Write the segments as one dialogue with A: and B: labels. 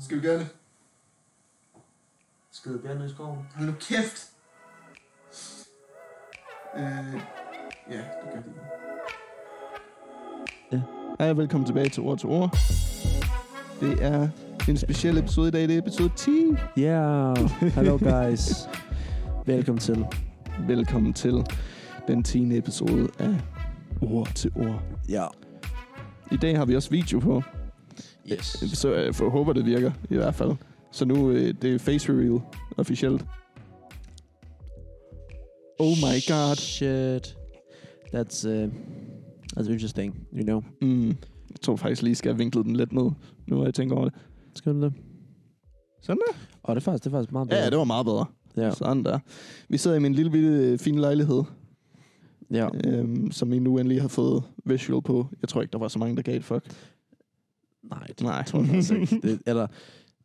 A: Skal vi gøre det?
B: Skide bjørn i skoven.
A: Hold nu kæft! Øh, ja, det gør det.
C: Hej og velkommen tilbage til Ord til Ord. Det er en speciel episode i dag. Det er episode 10.
B: Yeah, hello guys. Velkommen til.
C: Velkommen til den 10. episode af Ord til Ord.
B: Ja.
C: I dag har vi også video på,
B: Yes.
C: så jeg for, håber det virker i hvert fald. Så nu øh, det er face reveal officielt. Oh my god.
B: Shit. That's, uh, that's interesting, you know.
C: Mm, jeg tror faktisk lige, skal have vinklet den lidt ned, nu hvor jeg tænker over det.
B: Skal du det?
C: Sådan der.
B: Og det er faktisk, det er faktisk meget
C: Ja, det var meget bedre.
B: Ja,
C: Ja. Sådan der. Vi sidder i min lille bitte øh, fine lejlighed.
B: ja.
C: øhm, som I nu endelig har fået visual på. Jeg tror ikke, der var så mange, der gav et fuck.
B: Nej, det
C: Nej.
B: tror jeg faktisk ikke. Det, eller,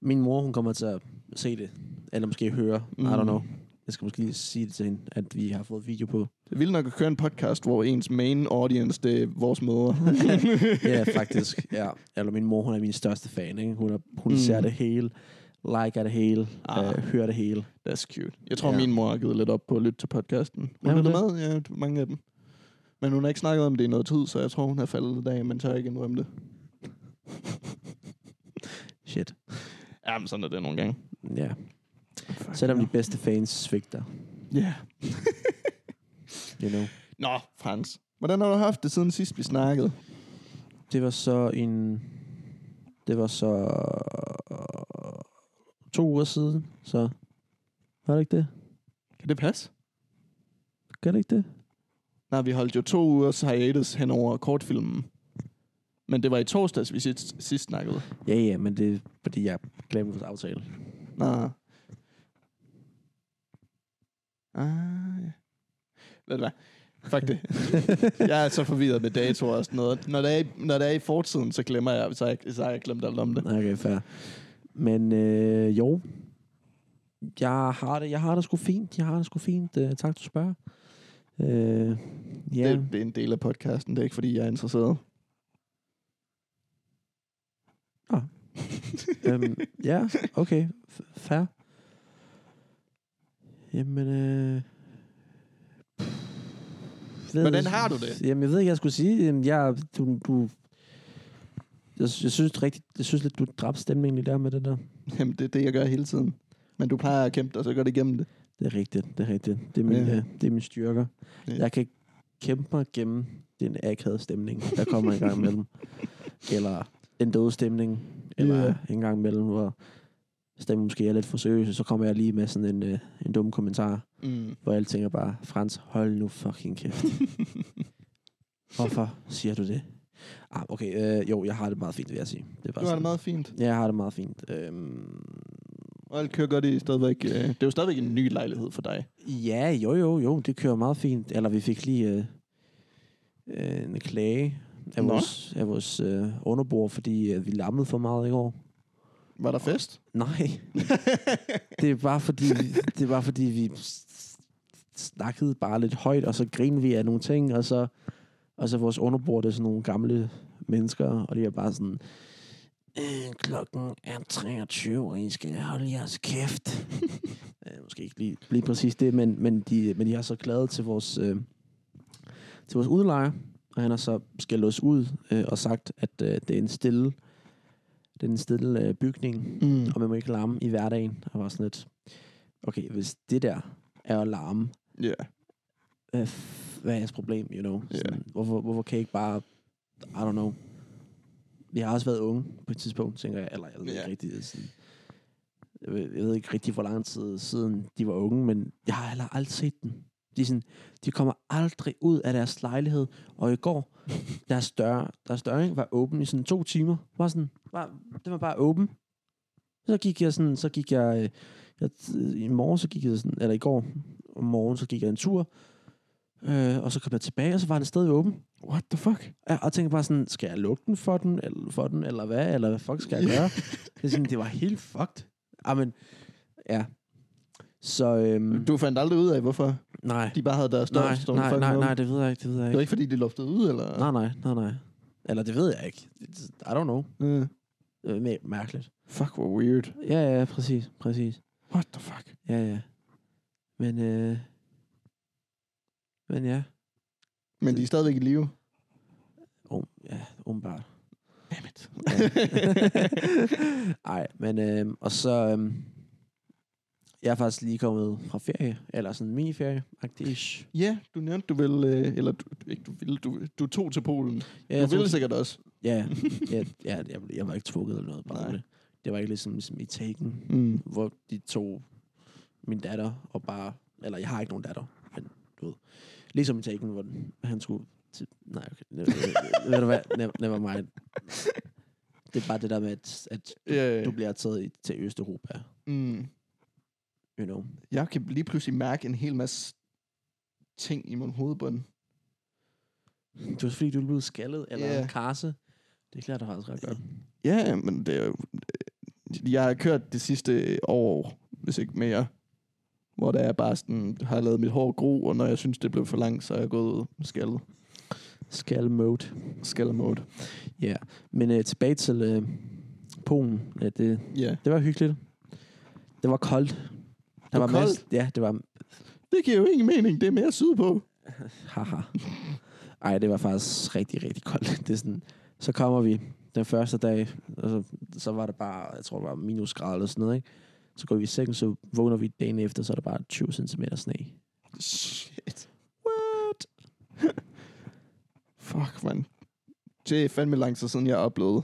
B: min mor, hun kommer til at se det. Eller måske høre. Mm. I don't know. Jeg skal måske lige sige det til hende, at vi har fået video på.
C: Det er vildt nok at køre en podcast, hvor ens main audience, det er vores mødre.
B: ja, faktisk. Ja. Eller min mor, hun er min største fan. Ikke? Hun, er, hun
C: Mm.
B: mm. ser det hele, liker det hele,
C: Ah.
B: ah. øh, hører det hele.
C: That's cute. Jeg tror,
B: Ja.
C: min mor har givet lidt op på at lytte til podcasten. Hun
B: Er
C: har
B: hun
C: lyttet med, ja, mange af dem. Men hun har ikke snakket om det i noget tid, så jeg tror, hun har faldet i dag, men tør ikke indrømme det.
B: Shit.
C: Jamen, sådan er det nogle gange.
B: Ja. Selvom de bedste fans svigter,
C: Ja. Yeah.
B: you know.
C: Nå, Frans. Hvordan har du haft det siden sidst, vi snakkede?
B: Det var så en... Det var så... To uger siden, så... Var det ikke det?
C: Kan det passe?
B: Gør det ikke det?
C: Nej, vi holdt jo to ugers hiatus hen over kortfilmen. Men det var i torsdags, vi sidst, sidst snakkede.
B: Ja, ja, men det er, fordi jeg glemte vores aftale.
C: Nå. Ah, ja. Ved du hvad? Fuck det. jeg er så forvirret med datoer og sådan noget. Når det er, i- når det er i fortiden, så glemmer jeg, så har jeg, så har jeg glemt alt om det.
B: Okay, fair. Men øh, jo, jeg har det, jeg har det sgu fint. Jeg har det sgu fint. Øh, tak, du spørger. Øh, ja,
C: det. Det er en del af podcasten, det er ikke fordi, jeg er interesseret.
B: øhm, ja, okay, f- fair. Jamen, øh, ved,
C: Hvordan har du det?
B: Jamen, jeg ved ikke, hvad jeg skulle sige. Jamen, jeg, du, du, jeg, sy- jeg synes rigtigt, jeg synes lidt, du dræbte stemningen lige der med det der.
C: Jamen, det er det, jeg gør hele tiden. Men du plejer at kæmpe dig, så gør det igennem det.
B: Det er rigtigt, det er rigtigt. Det er mine,
C: Ja.
B: ja. det er mine styrker.
C: Ja.
B: Ja. Jeg kan kæmpe mig gennem den akavede stemning, der kommer en gang imellem. Eller den døde stemning, eller
C: Ja.
B: en gang imellem, hvor stemmen måske er lidt for seriøs, så kommer jeg lige med sådan en, øh, en dum kommentar,
C: Mm.
B: hvor alle tænker bare, Frans, hold nu fucking kæft. Hvorfor siger du det? Ah, okay, øh, jo, jeg har det meget fint, vil jeg sige. Det er bare
C: Du har det
B: sådan.
C: meget fint.
B: Ja, jeg har det meget fint. Øhm,
C: Og alt kører godt i stadigvæk. øh, Det er jo stadigvæk en ny lejlighed for dig.
B: Ja, jo, jo, jo. Det kører meget fint. Eller vi fik lige øh, øh, en klage af
C: Nå.
B: vores, af vores øh, underbord, fordi øh, vi lammede for meget i går.
C: Var der fest?
B: Nej. det er bare fordi, vi, det er bare fordi vi s- s- snakkede bare lidt højt, og så grinede vi af nogle ting, og så, og så vores underbord, det er sådan nogle gamle mennesker, og de er bare sådan, øh, klokken er 23, og I skal holde jeres kæft. øh, måske ikke lige, lige præcis det, men, men, de, men de har så klaget til vores, øh, til vores udlejer, og han har så skældt os ud øh, og sagt, at øh, det er en stille, det er en stille øh, bygning,
C: Mm.
B: og man må ikke larme i hverdagen. Og var sådan lidt, okay, hvis det der er at larme,
C: Ja.
B: hvad, f- hvad er jeres problem, you know?
C: Ja.
B: Sådan, hvorfor, hvorfor kan I ikke bare, I don't know. Vi har også været unge på et tidspunkt, tænker jeg, eller jeg ved
C: Ja.
B: ikke rigtig, det er sådan, jeg ved, jeg ved ikke rigtig, hvor lang tid siden de var unge, men jeg har heller aldrig set dem. De, er sådan, de kommer aldrig ud af deres lejlighed, og i går, deres dør, deres dør ikke, var åben i sådan to timer. Var sådan, var, den var bare åben. Så gik jeg sådan, så gik jeg, øh, jeg i morgen, så gik jeg sådan, eller i går om morgenen, så gik jeg en tur, øh, og så kom jeg tilbage, og så var den stadig åben.
C: What the fuck?
B: Ja, Og jeg tænkte bare sådan, skal jeg lukke den for den, eller, for den, eller hvad, eller hvad fuck skal jeg gøre? det, er sådan, det var helt fucked. Ah, men, ja. Så, øhm,
C: Du fandt aldrig ud af, hvorfor
B: nej,
C: de bare havde deres dør
B: nej,
C: stående
B: nej,
C: fucking
B: nej,
C: åben?
B: nej, det ved jeg ikke, det ved jeg
C: Det var
B: ikke.
C: ikke, fordi de luftede ud, eller?
B: Nej, nej, nej, nej. Eller det ved jeg ikke. It's- I don't know.
C: Øh,
B: Det er mærkeligt.
C: Fuck, hvor weird.
B: Ja, ja, præcis, præcis.
C: What the fuck?
B: Ja, ja. Men, øh, men ja,
C: Men de er stadigvæk i live.
B: um, ja, åbenbart.
C: Dammit.
B: Nej, men øh, og så... Øh, jeg er faktisk lige kommet fra ferie, eller sådan en miniferie, faktisk.
C: ja, du nævnte, du ville... øh, Eller du, ikke du ville, du, du tog til Polen. Ja,
B: Ja,
C: du
B: jeg
C: ville
B: tog-
C: sikkert også.
B: ja, ja, ja jeg, jeg, var ikke tvunget eller noget, bare
C: Nej.
B: roligt. Det var ikke ligesom, ligesom i Taken,
C: Mm.
B: hvor de tog min datter og bare... Eller jeg har ikke nogen datter, men du ved. Ligesom i Taken, hvor den- han skulle... Til, nej, okay. Ne, ved du hvad? Ne, never mind. Det er bare det der med, at, at du,
C: Ja, ja.
B: du bliver taget i, til Østeuropa.
C: Mm.
B: You know.
C: Jeg kan lige pludselig mærke en hel masse ting i min hovedbund.
B: Det var fordi, du er blevet skaldet, eller
C: Ja.
B: yeah. karse. Det klarer dig faktisk ret godt.
C: Ja, men det er jo... øh, Jeg har kørt det sidste år, hvis ikke mere, hvor der er bare sådan, har lavet mit hår gro, og når jeg synes, det blev for langt, så er jeg gået ud med skaldet.
B: Skal mode.
C: Skaldermode.
B: Ja. Yeah. Men øh, tilbage til øh, Polen. Ja, det,
C: Ja.
B: det var hyggeligt. Det var koldt.
C: var
B: Masse, ja, det var...
C: Det giver jo ingen mening, det er mere sydpå.
B: Haha. Ej, det var faktisk rigtig, rigtig koldt. Det er sådan, så kommer vi den første dag, og så, så var det bare, jeg tror, det var minusgrader eller sådan noget, ikke? Så går vi i sengen, så vågner vi dagen efter, så er der bare 20 cm sne.
C: Shit. What? Fuck, mand. Det er fandme lang tid siden, jeg oplevede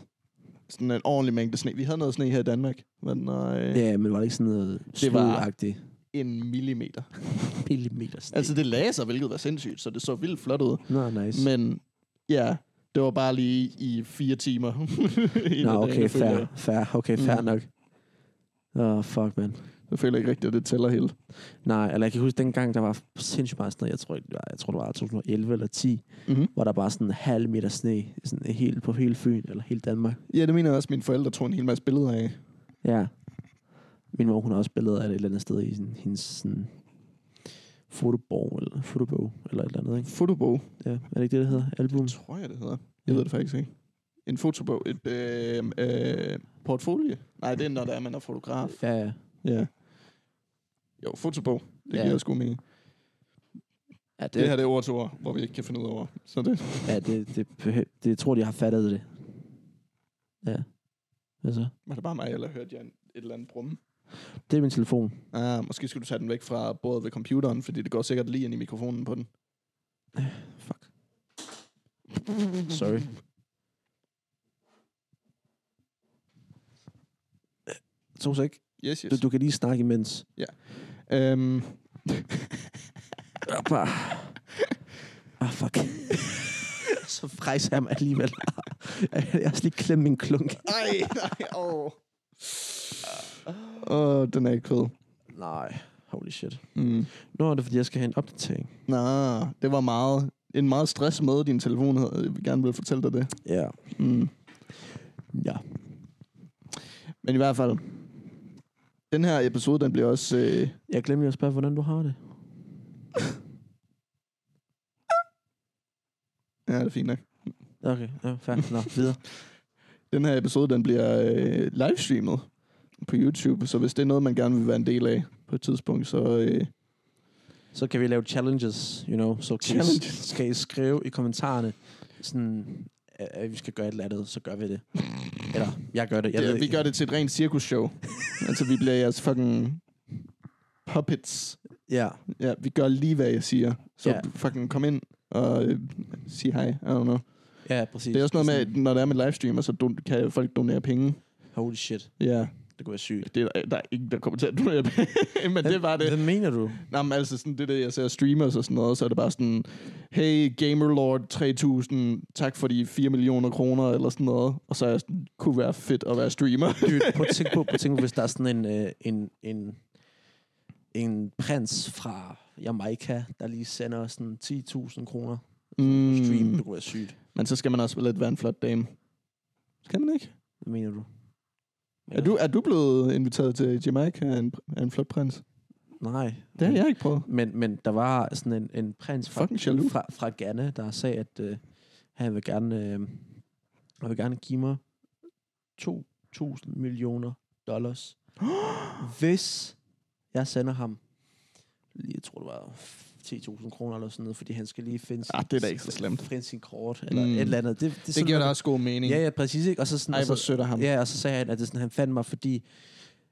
C: sådan en ordentlig mængde sne. Vi havde noget sne her i Danmark, men øh,
B: Ja, men var det ikke sådan noget
C: Det var-
B: sludagtigt?
C: en millimeter.
B: Millimeter sne.
C: Altså, det lagde sig, hvilket var sindssygt, så det så vildt flot ud.
B: Nå, nice.
C: Men ja, det var bare lige i fire timer. En
B: Nå,
C: af dagene,
B: okay,
C: føler
B: fair,
C: jeg.
B: fair, okay, fair
C: Mm.
B: mm. nok. Åh, oh, fuck, man.
C: Jeg føler ikke rigtigt, at det tæller helt.
B: Nej, eller jeg kan huske dengang, der var sindssygt meget sne, jeg tror, det var, jeg tror, det var 2011 eller 10,
C: Mm-hmm.
B: hvor der var sådan en halv meter sne sådan helt på hele Fyn, eller hele Danmark.
C: Ja, det mener jeg også, at mine forældre tog en hel masse billeder af.
B: Ja. Min mor, hun har også billeder af det et eller andet sted i sådan, hendes sådan, fotobog, eller, fotobog, eller et eller andet, ikke?
C: Fotobog,
B: Ja, er det ikke det, det hedder? Album?
C: tror jeg, det hedder. Jeg
B: Ja.
C: ved det faktisk ikke. En fotobog, et øh, øh, portfolio. Nej, det er, når det er, man er fotograf.
B: Ja, ja.
C: Ja. Jo, fotobog. Det
B: Ja.
C: giver også god mening.
B: Ja,
C: Det,
B: det,
C: det her det er ord til ord, hvor vi ikke kan finde ud af ord. Så det.
B: ja, det, det, det, det, jeg tror, de har fattet det. Ja. Hvad så?
C: Var det bare mig, eller hørte jeg en- et eller andet brumme?
B: Det er min telefon.
C: Ah, måske skulle du tage den væk fra bordet ved computeren, fordi det går sikkert lige ind i mikrofonen på den.
B: Fuck. Sorry. To sek.
C: Yes, yes.
B: Du, du kan lige snakke imens.
C: Øhm,
B: Ah, Bare. Ah, fuck. Så frejser jeg mig alligevel. Jeg har også lige klemt min klunk.
C: ej, nej, åh. Åh, den er ikke kød.
B: Nej. Holy shit.
C: Mm.
B: Nå, det er, fordi jeg skal have en opdatering.
C: Nå, det var meget, en meget stress med din telefon. havde- Jeg vil gerne vil fortælle dig det.
B: Ja.
C: Mm.
B: Ja.
C: Men i hvert fald, den her episode, den bliver også... Øh,
B: Jeg glemte lige at spørge, hvordan du har det.
C: ja, det er fint nok.
B: Okay, ja, færdig. Nå, videre.
C: Den her episode, den bliver øh, livestreamet på YouTube, så hvis det er noget, man gerne vil være en del af på et tidspunkt, så... Øh,
B: så kan vi lave challenges, you know. Så kan I,
C: Challenges.
B: skal I skrive i kommentarerne, sådan, at at vi skal gøre et eller andet, så gør vi det. Eller, jeg gør det. Jeg
C: ja,
B: ved,
C: vi gør det til et rent cirkusshow. altså, vi bliver jeres fucking puppets.
B: Ja,
C: Ja, vi gør lige, hvad jeg siger. Så
B: Ja.
C: yeah. fucking kom ind og øh, sig hej. I don't know.
B: ja, præcis.
C: Det er også noget med,
B: Sådan,
C: at når der er med livestreamer, så don- kan folk donere penge.
B: Holy shit,
C: Ja,
B: det kunne være sygt.
C: det er, der- der er ingen, der kommer til at donere penge, men det var det.
B: Hvad mener du?
C: Nå, men altså sådan det der, jeg ser streamers og sådan noget, så er det bare sådan, hey Gamerlord 3000, tak for de 4 millioner kroner eller sådan noget. Og så er jeg sådan, kunne være fedt at være streamer.
B: Dude, prøv at tænke på, prøv at tænke på hvis der er sådan en, øh, en, en, en prins fra Jamaica, der lige sender sådan 10.000 kroner på
C: Mm.
B: stream. Det kunne være sygt.
C: Men så skal man også lidt være en flot dame. Skal man ikke?
B: Hvad mener du?
C: Er du, er du blevet inviteret til Jamaica af en, af en flot prins?
B: Nej.
C: Det har jeg ikke prøvet.
B: Men, men der var sådan en, en prins fra,
C: Fucking jaloux.
B: fra, fra Ghana, der sagde, at øh, han vil gerne, øh, han vil gerne give mig to 1000 millioner dollars. hvis jeg sender ham, lige, jeg tror det var 10.000 kroner eller sådan noget, fordi han skal lige finde
C: Ah, det er da ikke så slemt.
B: Finde sin kort eller
C: Mm.
B: et eller andet. Det, det, er
C: Det
B: sådan
C: giver da
B: noget-
C: også god mening.
B: Ja, ja, præcis. Ikke? Og så sådan,
C: Ej,
B: og så,
C: hvor sødt af ham.
B: Ja, og så sagde han, at det er sådan, han fandt mig, fordi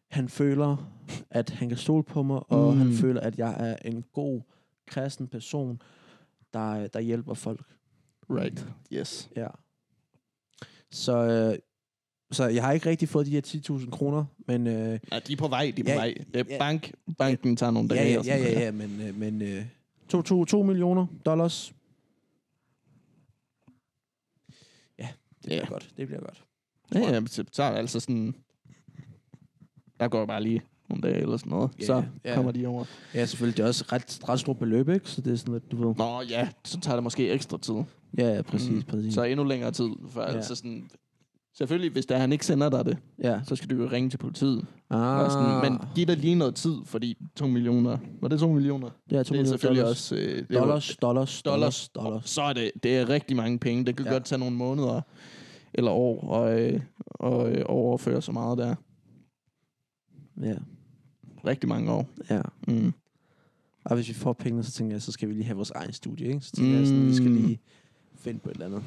B: han føler, at han kan stole på mig, og
C: Mm.
B: mm. han føler, at jeg er en god, kristen person, der, øh, der hjælper folk.
C: Right. Yes.
B: Ja. Så, øh, så jeg har ikke rigtig fået de her 10.000 kroner, men øh,
C: Nej, de er på vej, de er på
B: Ja,
C: vej. Det er
B: ja.
C: bank. Banken tager nogle
B: ja,
C: dage.
B: ja,
C: og sådan
B: ja,
C: noget.
B: ja, ja, men, øh, men øh, 2, 2, 2 millioner dollars. Ja, det bliver
C: Ja.
B: godt. Det bliver godt.
C: Ja, ja, men så så er det altså sådan... Der går bare lige nogle dage eller sådan noget.
B: Ja,
C: så
B: ja.
C: kommer de over.
B: Ja, selvfølgelig. Det er også ret, ret stort beløb, ikke? Så det er sådan lidt, du ved...
C: Nå ja, så tager det måske ekstra tid.
B: Ja, ja, præcis,
C: Mm.
B: præcis.
C: Så endnu længere tid. For ja.
B: Ja.
C: altså sådan, selvfølgelig, hvis der han ikke sender dig det,
B: Ja.
C: så skal du jo ringe til politiet.
B: Ah,
C: Ah. Sådan, men giv dig lige noget tid, fordi 2 millioner... Var det 2 millioner?
B: det er, 2
C: Det er selvfølgelig
B: dollars.
C: også... Øh, det er jo-
B: Dollars, dollars, dollars, dollars.
C: Så er det, det er rigtig mange penge. Det kan ja.
B: Ja.
C: godt tage nogle måneder eller år og, øh, og øh, overføre så meget der.
B: Ja,
C: Rigtig mange år.
B: ja.
C: Mm.
B: Og hvis vi får pengene, så tænker jeg, så skal vi lige have vores egen studie, ikke? Så tænker mm. jeg sådan, vi skal
C: Mm.
B: lige finde på et eller andet.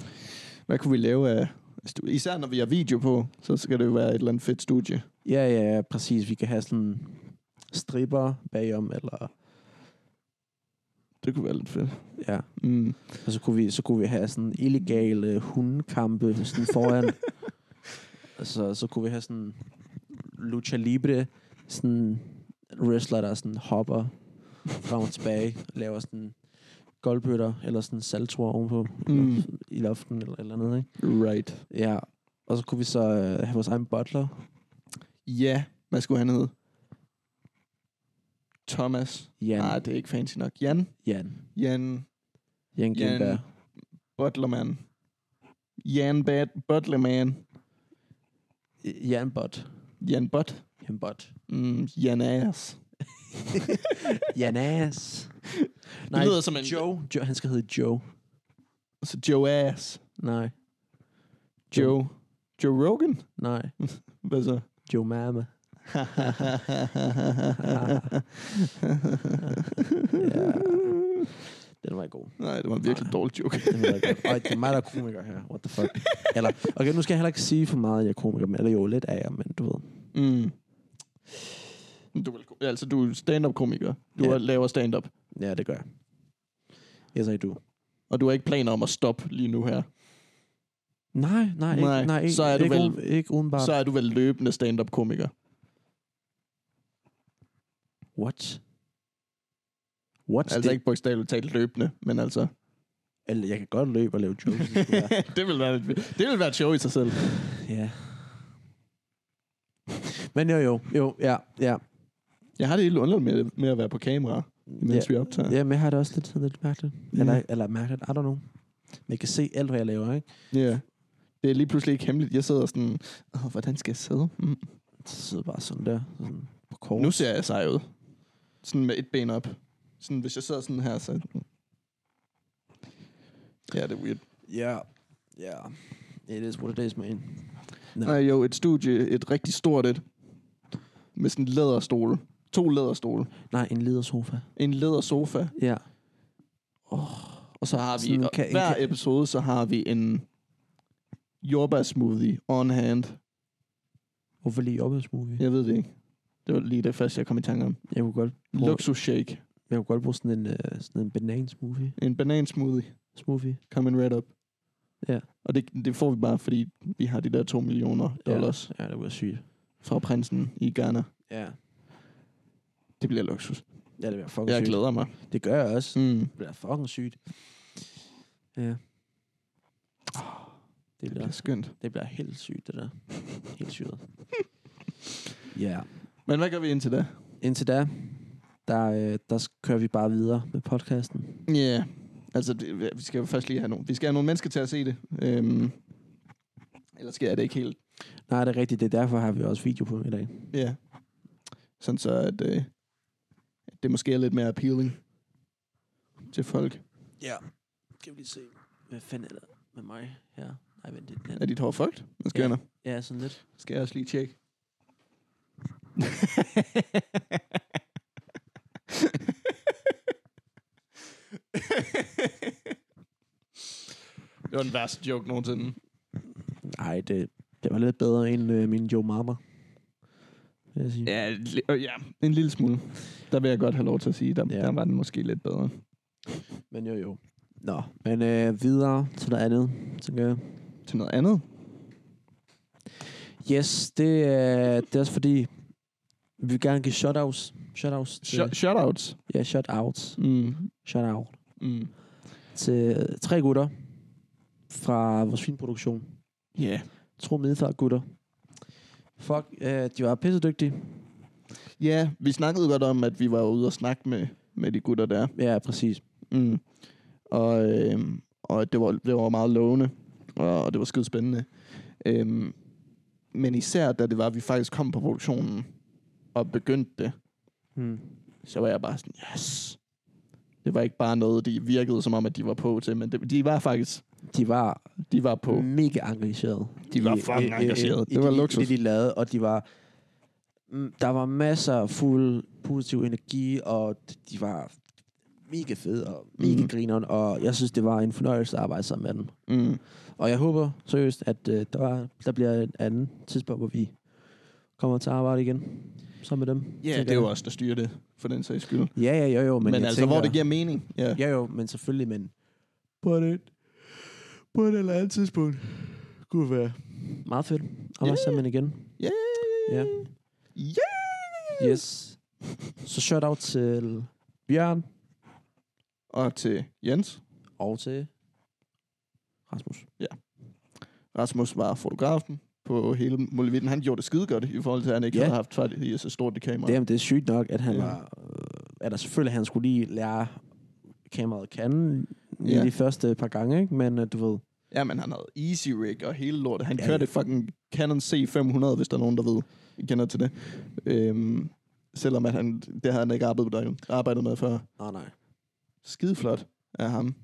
C: Hvad kunne vi lave af... stu- Især når vi har video på, så skal det jo være et eller andet fedt studie.
B: Ja, ja, ja, præcis. Vi kan have sådan stripper bagom, eller...
C: Det kunne være lidt fedt.
B: Ja,
C: Mm.
B: og så kunne vi, så kunne vi have sådan illegale hundekampe sådan foran. altså, så kunne vi have sådan lucha libre, sådan wrestler, der sådan hopper frem og tilbage, og laver sådan goldbøtter, eller sådan saltoer ovenpå
C: Mm.
B: mm. i luften, eller et eller andet, ikke?
C: Right.
B: Ja, og så kunne vi så øh, have vores egen butler.
C: Ja, hvad skulle han hedde? Thomas.
B: Jan.
C: Nej, det er ikke fancy nok. Jan.
B: Jan.
C: Jan
B: Jan Gindberg.
C: Butlerman. Jan Bad Butlerman.
B: Jan Bot.
C: Jan Bot.
B: Jan Bot.
C: Mm, Jan Ass.
B: Janas.
C: Nej, det lyder som en...
B: Joe. Joe. Han skal hedde Joe.
C: Så Joe Ass.
B: Nej.
C: Joe. Joe Rogan?
B: Nej.
C: Hvad så?
B: Joe Mama. Ja. Den var god.
C: Nej, det var en virkelig dårlig joke.
B: Den var god. Øj, det er mig, der er komiker her. What the fuck? Eller, okay, nu skal jeg heller ikke sige for meget, at jeg er komiker. Men, eller jo, lidt af jer, men du ved.
C: Mm. Men Du, er vel- altså, du er stand-up-komiker. Du
B: Ja.
C: yeah. laver stand-up.
B: Ja, det gør jeg. Yes, I do.
C: Og du har ikke planer om at stoppe lige nu her.
B: Nej, nej,
C: Nej,
B: ikke, nej ikke,
C: så er du
B: ikke,
C: vel-
B: u- ikke udenbart.
C: Så
B: Så...
C: er du vel løbende stand-up-komiker.
B: What? What?
C: Altså ikke bogstaveligt talt løbende, men altså...
B: Eller, jeg kan godt løbe og lave jokes. hvis det skulle være.
C: det, vil være, det vil være et show i sig selv.
B: ja. Men jo, jo, jo, ja, ja.
C: Jeg har det helt underligt med, med at være på kamera,
B: ja.
C: mens vi optager.
B: Ja, men jeg har det også lidt, sådan lidt mærkeligt.
C: Ja.
B: Eller, eller mærkeligt, I don't know. Men jeg kan se alt, hvad jeg laver, ikke?
C: Ja. Det er lige pludselig ikke hemmeligt. Jeg sidder sådan, Åh, hvordan skal jeg sidde? Mm.
B: Så sidder jeg bare sådan der, sådan på kort.
C: Nu ser jeg sej ud. Sådan med et ben op. Sådan, hvis jeg sidder sådan her, så... Ja, det er weird.
B: Ja, ja. It is what it is, man. Nå.
C: Nej, jo, et studie, et rigtig stort et. Med sådan en læderstol. To læderstole.
B: Nej, en ledersofa.
C: En lædersofa.
B: Ja.
C: Og så har vi,
B: Sådan
C: og
B: kan- en
C: hver
B: kan-
C: episode, så har vi en jordbærsmoothie on hand.
B: Hvorfor lige ophedsmovie? Ja.
C: Jeg ved det ikke. Det var lige det første, jeg kom i tanke om.
B: Jeg kunne godt bruge,
C: Luxus shake.
B: jeg kunne godt bruge sådan en, uh, sådan en banansmoothie.
C: En banansmoothie.
B: Smoothie.
C: Coming right up.
B: Ja.
C: Og det, det får vi bare, fordi vi har de der 2 millioner dollars ja.
B: Ja, det var sygt.
C: fra prinsen i Ghana.
B: Ja.
C: Det bliver luksus.
B: Ja, det bliver fucking
C: Jeg
B: sygt.
C: glæder mig.
B: Det gør jeg også.
C: Mm.
B: Det bliver fucking sygt. Ja. Ah,
C: Det
B: Det bliver,
C: bliver skønt.
B: det bliver helt sygt, det der. Helt sygt. Ja.
C: Men hvad gør vi indtil da?
B: Indtil da, der, øh, der s- kører vi bare videre med podcasten.
C: Ja, yeah. altså det, vi skal jo først lige have nogle, vi skal have nogle mennesker til at se det. Øhm, ellers sker det ikke helt.
B: Nej, det er rigtigt. Det er derfor, har vi også video på i dag.
C: Ja. Yeah. Sådan så, at øh, at det måske er lidt mere appealing til folk.
B: Ja. Skal vi lige se. Hvad fanden er der med mig her? Nej, vent lidt.
C: Er dit hår fugt? Man skal
B: Ja.
C: yeah.
B: Ja, sådan lidt.
C: Skal jeg også lige tjekke? det var den værste joke nogensinde.
B: Nej, det, det var lidt bedre end øh, min Joe Marmer. Vil jeg sige. Ja.
C: Ja, li- øh, ja, en lille smule. Der vil jeg godt have lov til at sige, der,
B: Ja.
C: ja. der var den måske lidt bedre.
B: Men jo, jo. Nå, men øh, videre til noget andet, tænker jeg.
C: Til noget andet?
B: Yes, det, øh, det er også fordi, vi vil gerne give shoutouts. Shoutouts til,
C: Sh- shoutouts.
B: Ja, shoutouts.
C: Øh. Mm.
B: Shoutout.
C: Mm.
B: Til tre gutter fra vores filmproduktion.
C: Yeah.
B: Tro Middelfart gutter. Fuck, øh, de var pisse dygtige.
C: Ja, vi snakkede godt om, at vi var ude og snakke med, med de gutter der.
B: Ja, præcis.
C: Mm. Og, øh, og det, var, det var meget lovende, og, og det var skide spændende. Øhm, men især da det var, at vi faktisk kom på produktionen og begyndte det,
B: Hmm.
C: så var jeg bare sådan, yes. Det var ikke bare noget, de virkede som om, at de var på til, men det, de var faktisk,
B: De var
C: de var på.
B: mega engagerede.
C: De var
B: i-
C: fucking
B: i- i-
C: engagerede.
B: i-
C: Det var
B: i- i
C: luksus.
B: Det, de lavede, og de var... mm, Der var masser af fuld positiv energi, og de var mega fede og mega
C: Mhm.
B: grineren, og jeg synes, det var en fornøjelse at arbejde sammen med dem.
C: Mm.
B: Og jeg håber seriøst, at øh, der, var, der bliver et andet tidspunkt, hvor vi kommer til at arbejde igen sammen med dem.
C: Ja,
B: tænker
C: det er jo
B: jeg.
C: også der styrer det, for den sags skyld.
B: Ja, ja, jo, jo. Men,
C: Men, men
B: jeg
C: altså,
B: tænker,
C: hvor det giver mening. Ja.
B: Ja, jo, men selvfølgelig, men på et, på et eller andet tidspunkt kunne være meget fedt. Og
C: Ja.
B: yeah. sammen igen.
C: Yeah.
B: Ja.
C: Yeah.
B: Yes. Så shout out til Bjørn
C: Og til Jens.
B: og til Rasmus.
C: Rasmus var fotografen på hele Molevitten. Han gjorde det skide godt, i forhold til, at han ikke
B: Ja.
C: yeah. havde haft tvær i så stort det kamera.
B: Det er, det er sygt nok, at han
C: Ja.
B: var... Øh, at der selvfølgelig, han skulle lige lære kameraet kan
C: Ja.
B: yeah. de første par gange, ikke? Men øh, du ved...
C: Ja, men han havde easy rig og hele lortet. Han
B: Ja,
C: ja,
B: ja.
C: kørte fucking Canon C500, hvis der er nogen, der ved. I kender til det. Øhm, selvom at han, det havde han ikke arbejdet, arbejdet med før.
B: Åh, oh, nej.
C: Skideflot af ham.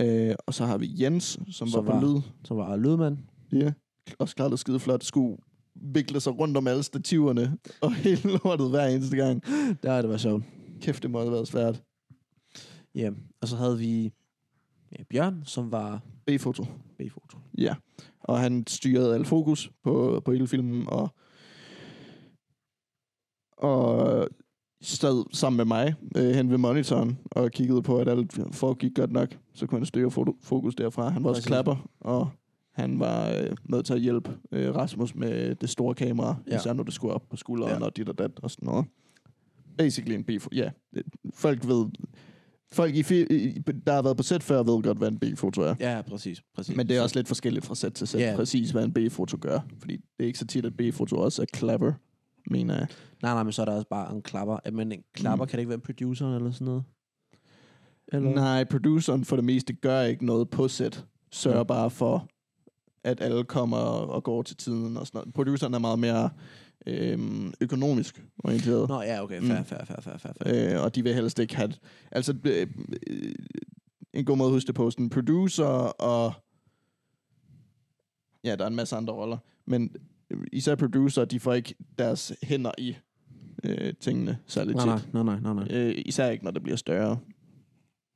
C: Øh, og så har vi Jens, som
B: Som
C: så var
B: var-
C: på lyd.
B: Så var lydmand.
C: Ja, også klart og skideflot. Skulle vikle sig rundt om alle stativerne og hele lortet hver eneste gang.
B: Der det var sjovt.
C: Kæft, det må have været svært.
B: Ja, og så havde vi ja, Bjørn, som var
C: B-foto.
B: B-foto.
C: Ja, og han styrede al fokus på, på hele filmen, og, og stod sammen med mig øh, hen ved monitoren, og kiggede på, at alt foregik godt nok, så kunne han styre foto- fokus derfra. Han var også
B: Præcis.
C: klapper, og han var øh, med til at hjælpe øh, Rasmus med det store kamera,
B: Ja.
C: ja. især når det skulle op på skulderen
B: Ja.
C: ja. og dit og dat og sådan noget. Basically en B-foto, ja. det- Folk ved... Folk, i, fi- i, der har været på sæt før, ved godt, hvad en B-foto er.
B: Ja, præcis. præcis.
C: Men det er også lidt forskelligt fra sæt til sæt,
B: Ja.
C: yeah. præcis hvad en B-foto gør. Fordi det er ikke så tit, at B-foto også er clever, mener jeg.
B: Nej, nej, men så er der også bare en klapper. Eh, Men en klapper, mm.
C: Mm.
B: kan det ikke være en producer eller sådan noget?
C: Eller? Nej, produceren for det meste gør ikke noget på sæt. Sørger
B: Ja.
C: ja. bare for, at alle kommer og går til tiden og sådan noget. Produceren er meget mere øhm, økonomisk orienteret.
B: Nå, ja, okay. Fair,
C: Mm.
B: fair, fair, fair, fair, fair.
C: Øh, og de vil helst ikke have... Altså, øh, øh, en god måde at huske det på, sådan producer og... Ja, der er en masse andre roller. Men øh, især producer, de får ikke deres hænder i øh, tingene særligt
B: nej,
C: tit.
B: nej, nej, nej, nej, nej.
C: Øh, især ikke, når det bliver større.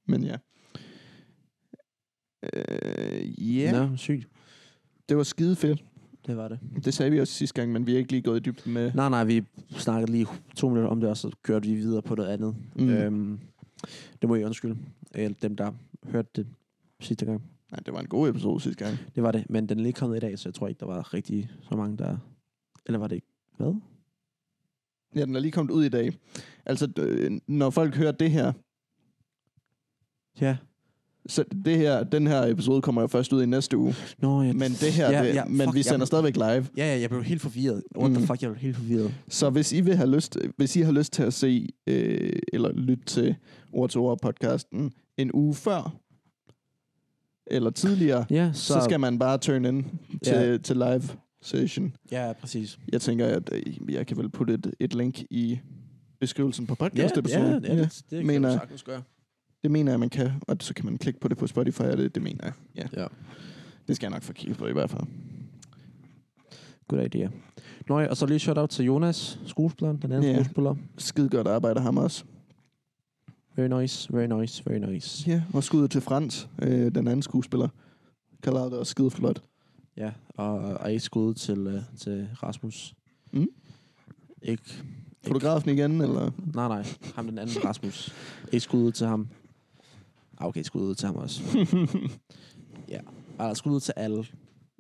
C: Men ja. Øh, ja,
B: Nå, sygt.
C: det var skide fedt.
B: Det var det.
C: Det sagde vi også sidste gang, men vi er ikke lige gået i dybden med...
B: Nej, nej, vi snakkede lige to minutter om det, og så kørte vi videre på noget andet. Mm.
C: Mm.
B: Øhm, det må jeg undskylde. Eller dem, der hørte det sidste gang.
C: Nej, det var en god episode sidste gang.
B: Det var det, men den er lige kommet i dag, så jeg tror ikke, der var rigtig så mange, der... Eller var det ikke? Hvad?
C: Ja, den er lige kommet ud i dag. Altså, øh, når folk hører det her,
B: Ja.
C: så det her, den her episode kommer jo først ud i næste uge.
B: Nå, ja.
C: Men det her,
B: Ja,
C: det,
B: ja,
C: men
B: fuck,
C: vi sender
B: jeg-
C: stadigvæk live.
B: Ja, ja, jeg blev helt forvirret. What the
C: Mm.
B: fuck, jeg blev helt forvirret.
C: Så hvis I, vil have lyst, hvis I har lyst til at se øh, eller lytte til Ord til Ord podcasten en uge før, eller tidligere,
B: Ja, så...
C: så, så skal man bare turn in til,
B: Ja.
C: ja. til live session.
B: Ja, præcis.
C: Jeg tænker, at øh, jeg kan vel putte et, et link i beskrivelsen på
B: Ja,
C: podcast
B: ja, ja, det, det, det kan
C: mener
B: du
C: jeg.
B: sagtens gøre.
C: Det mener jeg, man kan, og så kan man klikke på det på Spotify, og det, det mener jeg. Ja.
B: Ja.
C: Det skal jeg nok få kigget på i hvert fald.
B: good idea. Nå ja, og så lige shout-out til Jonas, skuespilleren, den anden
C: Ja.
B: yeah. skuespiller.
C: Skide godt arbejde ham også.
B: Very nice, very nice, very nice.
C: Ja, og skud til Frans, øh, den anden skuespiller. Kalder det også skide flot.
B: Ja, og, og et skud til, uh, til Rasmus.
C: Mm.
B: Ikke,
C: Fotografen igen, eller?
B: nej nej, ham den anden Rasmus. Et skud til ham. Ah, okay, skud til ham også. ja, altså skud til alle.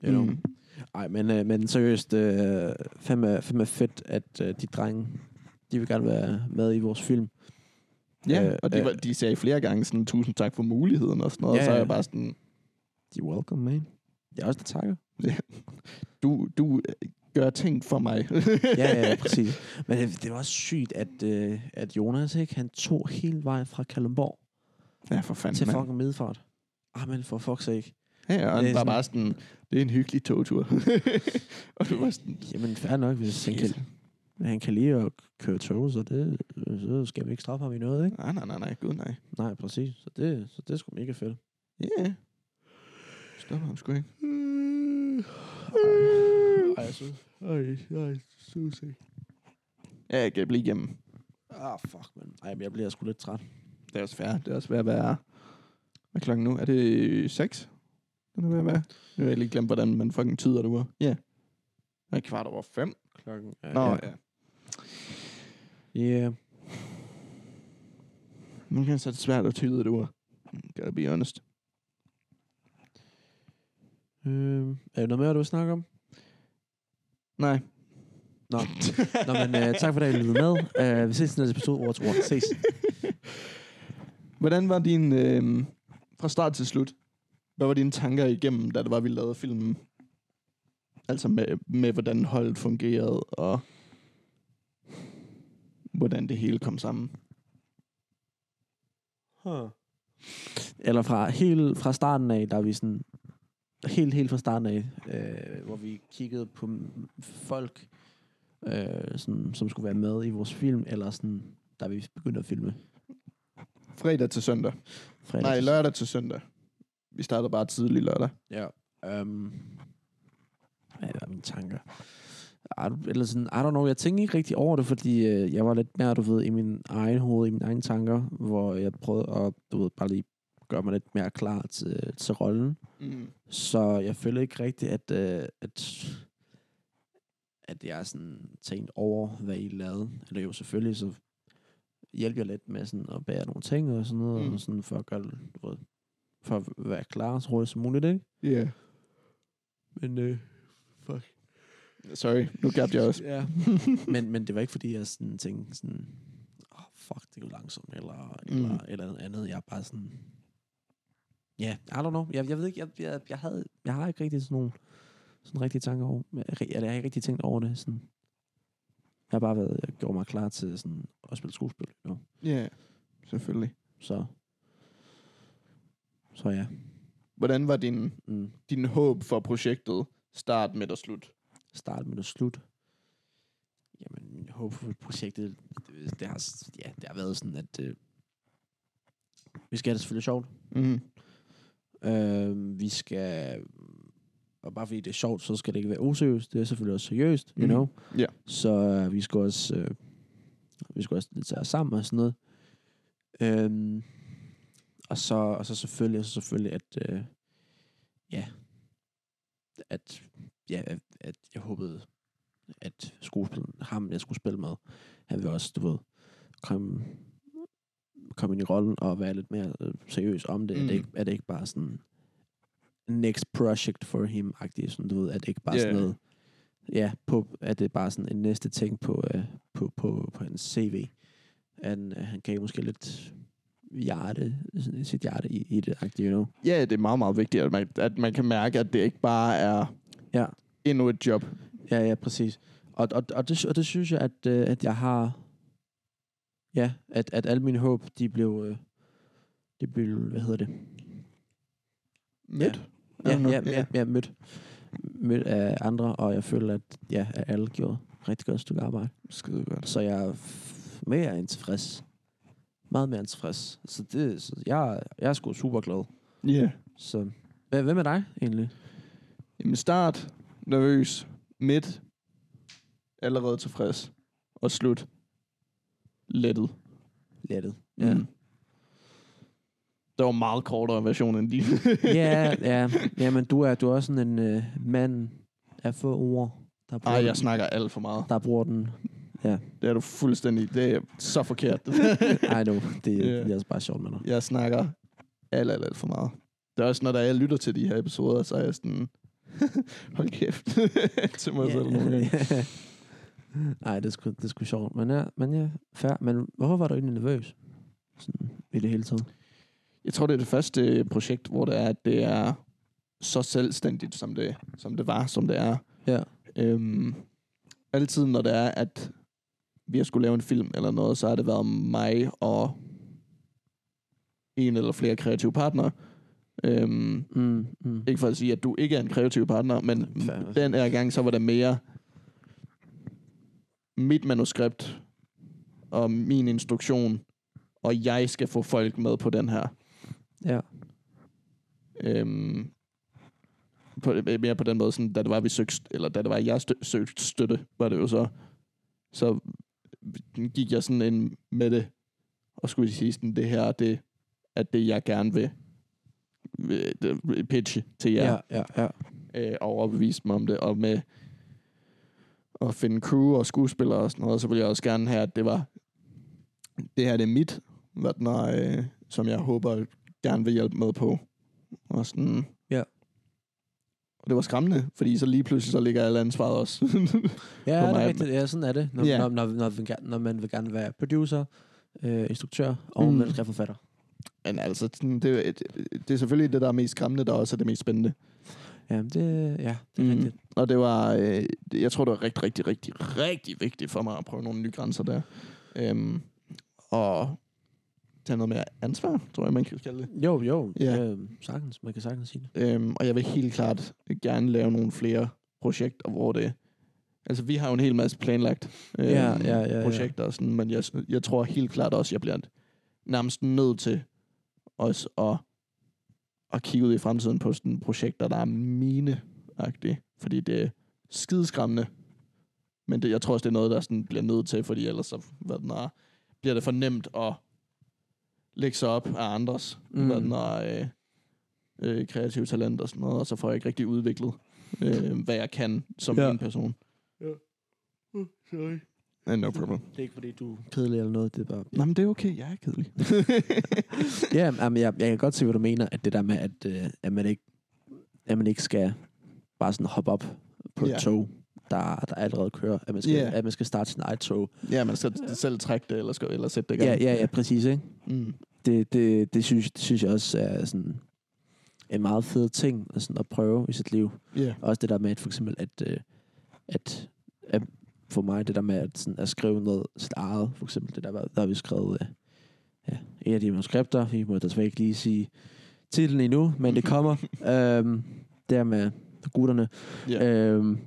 B: You know. mm.
C: Mm.
B: Ej, men, øh, men seriøst, øh, fandme, fandme fedt, at øh, de drenge, de vil gerne være med i vores film.
C: Ja,
B: Øh,
C: øh, og de,
B: øh.
C: øh. de sagde flere gange sådan, tusind tak for muligheden og sådan noget.
B: Ja,
C: Ja, og så er
B: ja.
C: jeg bare sådan,
B: De er welcome, man. Det er også der takker.
C: du, du øh, gør ting for mig.
B: Ja, ja, ja, præcis. Men øh, det, det var også sygt, at, øh, at Jonas, ikke, han tog hele vejen fra Kalundborg
C: ja, for fanden,
B: til
C: mand.
B: fucking Midfart. Ah, men for fuck's sake.
C: Ja, og
B: Det
C: han
B: er
C: var
B: sådan-
C: bare sådan, det er en hyggelig togtur. og du var sådan,
B: Jamen, fair nok, hvis han
C: Shit.
B: kan, han kan lide at køre tog, så, det, så skal vi ikke straffe ham i noget, ikke?
C: nej, nej, nej, nej, gud nej.
B: Nej, præcis. Så det, så det er sgu mega fedt.
C: Ja. Yeah. Stop ham sgu ikke.
B: Ej, jeg synes.
C: Ja, jeg kan blive hjemme.
B: Ah, fuck, man. Ej, men jeg bliver sgu lidt træt.
C: Det er også fair. Det er også ved at være... Hvad er klokken nu? Er det 6? Den er ved at være. Nu har jeg lige glemt, hvordan man fucking tyder det var. Ja. Yeah. Det er kvart over 5.
B: Klokken er...
C: Nå, ja.
B: Yeah.
C: Nu kan så er det svært at tyde det ur. Gotta be honest.
B: Øh, er der noget mere, du vil snakke om?
C: Nej.
B: Nå. Nå, men øh, tak for det, at I lyttede med. Øh, vi ses i næste episode, vores ord. Ses.
C: Hvordan var din... Øh, fra start til slut, hvad var dine tanker igennem, da det var, vi lavede filmen? Altså med, med hvordan holdet fungerede, og hvordan det hele kom sammen.
B: Huh. Eller fra, helt, fra starten af, der er vi sådan... Helt, helt fra starten af, øh, hvor vi kiggede på m- folk, øh, sådan, som skulle være med i vores film, eller sådan, da vi begyndte at filme.
C: Fredag til søndag.
B: Fredag.
C: Nej, lørdag til søndag. Vi startede bare tidlig lørdag.
B: Ja. Um, hvad er mine tanker? Ej, du- Eller sådan, I don't know, jeg tænkte ikke rigtig over det, fordi øh, jeg var lidt mere, du ved, i min egen hoved, i mine egne tanker, hvor jeg prøvede at, du ved, bare lige gøre mig lidt mere klar til, til rollen.
C: Mm.
B: Så jeg føler ikke rigtigt, at, øh, at, at jeg har sådan tænkt over, hvad I lavede. Eller jo, selvfølgelig, så hjælper jeg lidt med sådan at bære nogle ting og sådan noget, mm.
C: Mm.
B: og sådan for at gøre, det, du ved, for at være klar så hurtigt som muligt, ikke?
C: Yeah.
B: Men, øh, fuck.
C: Sorry, nu gabte jeg også.
B: Ja. men, men det var ikke, fordi jeg sådan tænkte sådan, oh, fuck, det går langsomt, eller, mm. eller, eller noget andet. Jeg er bare sådan, ja, yeah, I don't know. Jeg, jeg ved ikke, jeg, jeg, jeg, havde, jeg har ikke rigtig sådan nogle sådan rigtige tanker over, eller jeg har ikke rigtig tænkt over det. Sådan. Jeg har bare været, jeg gjorde mig klar til sådan, at spille skuespil. You know?
C: Ja, yeah. selvfølgelig.
B: Så, så ja.
C: Hvordan var din,
B: Mm.
C: din håb for projektet start, midt og slut?
B: start, midt og slut. Jamen, min håb for projektet, det, det, har, s- ja, det har været sådan, at øh, vi skal have det selvfølgelig sjovt.
C: Mm.
B: Mm-hmm. Øh, vi skal... Og bare fordi det er sjovt, så skal det ikke være useriøst. Det er selvfølgelig også seriøst,
C: Mhm.
B: you know?
C: Ja.
B: Så øh, vi skal også... Øh, vi skal også lidt tage os sammen og sådan noget. Øhm, og, så, og så selvfølgelig, og så selvfølgelig at... Øh, ja. At, ja, at, at jeg håbede, at skuespilleren, ham jeg skulle spille med, han vil også, du ved, komme, komme ind i rollen og være lidt mere øh, seriøs om det. Mm. Er,
C: Mm.
B: det ikke, er det ikke bare sådan next project for him agtigt sådan du ved, er det ikke bare
C: Ja.
B: yeah. sådan noget, ja, på, er det bare sådan en næste ting på, øh, på, på, på hans CV. Han, øh, han gav måske lidt hjerte, sådan sit hjerte i, i det, agtigt, you know.
C: Ja, det er meget, meget vigtigt, at man, at man kan mærke, at det ikke bare er
B: Ja.
C: endnu et job.
B: Ja, ja, præcis. Og, og, og, det, og det synes jeg, at, øh, at jeg har... Ja, at, at alle mine håb, de blev... Øh, de blev, hvad hedder det?
C: Midt?
B: Ja,
C: Er det nu?
B: ja, ja, ja mødt. Mødt af andre, og jeg føler, at, ja, at alle gjorde et rigtig godt stykke arbejde.
C: Skide godt.
B: Så jeg er f- mere end tilfreds. Meget mere end tilfreds. Så, det, så jeg, jeg er sgu super glad.
C: Ja. Yeah.
B: Så, Hva- hvem er dig egentlig?
C: Jamen start, nervøs, midt, allerede tilfreds, og slut, lettet.
B: Lettet. Ja.
C: Mm. Det var en meget kortere version end din.
B: ja, ja. ja, men du er, du er også sådan en øh, mand af få ord, der bruger,
C: Ej, jeg
B: den,
C: snakker alt for meget.
B: der bruger den.
C: Det er du fuldstændig. Det er så forkert.
B: Ej, no, det,
C: Ja.
B: yeah. det er altså bare sjovt med dig.
C: jeg snakker alt, alt, alt for meget. Det er også, når der er, jeg lytter til de her episoder, så er jeg sådan... Hold kæft til mig selv nogle gange.
B: Nej, det er sgu, det er sgu sjovt. Men ja, men ja, fair. Men hvorfor var du egentlig nervøs? Sådan, i det hele taget.
C: Jeg tror, det er det første projekt, hvor det er, at det er så selvstændigt, som det, som det var, som det er.
B: Ja.
C: Øhm, altid, når det er, at vi har skulle lave en film eller noget, så har det været mig og en eller flere kreative partnere. Øhm,
B: Mm, mm.
C: ikke for at sige, at du ikke er en kreativ partner, men
B: Fair.
C: den her gang, så var det mere mit manuskript og min instruktion, og jeg skal få folk med på den her.
B: Ja.
C: Øhm, på, øh, mere på den måde, sådan, da det var, vi søgte, eller da det var, jeg stø, søgte støtte, var det jo så, så gik jeg sådan ind med det, og skulle sige sådan, det her, det er det, jeg gerne vil, vil det- pitche til jer
B: Ja, ja, ja.
C: øh, og overbevise dem om det, og med at finde crew og skuespillere og sådan noget, så ville jeg også gerne have, at det var, det her det er mit, hvad den er, øh, som jeg håber gerne vil hjælpe med på. Og sådan,
B: Ja.
C: Og det var skræmmende, fordi så lige pludselig så ligger alle ansvaret også.
B: Ja,
C: På
B: det
C: mig.
B: er rigtigt. Ja, sådan er det. Når,
C: Ja.
B: yeah. når, når, når, vi gerne- når man vil gerne være producer, øh, instruktør og
C: Mm.
B: mm. manuskriptforfatter.
C: Men altså, sådan, det, er jo et- det er selvfølgelig det, der er mest skræmmende, der også er det mest spændende.
B: Ja, det, ja, det er mm.
C: Mm.
B: rigtigt.
C: Og det var, øh, det- jeg tror, det var rigtig, rigtig, rigtig, rigtig vigtigt for mig at prøve nogle nye grænser der. Øhm, og tage noget mere ansvar, tror jeg, man kan kalde det.
B: Jo, jo.
C: Ja.
B: Øh, sagtens. Man kan sagtens sige det.
C: Øhm, og jeg vil helt klart gerne lave nogle flere projekter, hvor det... Altså, vi har jo en hel masse planlagt øhm,
B: Ja, ja, ja, ja.
C: projekter, og sådan, men jeg, jeg tror helt klart også, jeg bliver nærmest nødt til også at, at kigge ud i fremtiden på sådan projekter, der er mine -agtige, fordi det er skideskræmmende. Men det, jeg tror også, det er noget, der sådan bliver nødt til, fordi ellers så, hvad den er, bliver det for nemt at lægge sig op af andres mm.
B: Mm.
C: hvad den er, øh, øh, kreative talent og sådan noget, og så får jeg ikke rigtig udviklet, øh, hvad jeg kan som
B: Ja.
C: ja. en person.
B: Sorry.
C: Uh, no problem.
B: Det er ikke, fordi du er kedelig eller noget. Det er bare...
C: Nå, men det er okay. Jeg er kedelig.
B: Ja, jamen, jeg, jeg kan godt se, hvad du mener, at det der med, at, øh, at, man, ikke, at man ikke skal bare sådan hoppe op på
C: Ja.
B: et tog, der, der allerede kører. At man, skal,
C: Ja.
B: at man skal starte sin eget tog.
C: ja, man skal selv trække det, eller, skal, eller sætte det i
B: Ja,
C: gang.
B: ja, ja, præcis, ikke?
C: Mm.
B: Det, det, det, synes, det synes jeg også er sådan en meget fed ting at, sådan at prøve i sit liv.
C: Yeah.
B: Også det der med, at for eksempel, at, øh, at, at for mig, det der med at, sådan, at skrive noget sit eget, for eksempel det der, var- der har vi skrevet øh, ja, et af de manuskripter, vi må desværre ikke lige sige titlen endnu, men det kommer, øhm, der med gutterne.
C: Ja.
B: Øhm,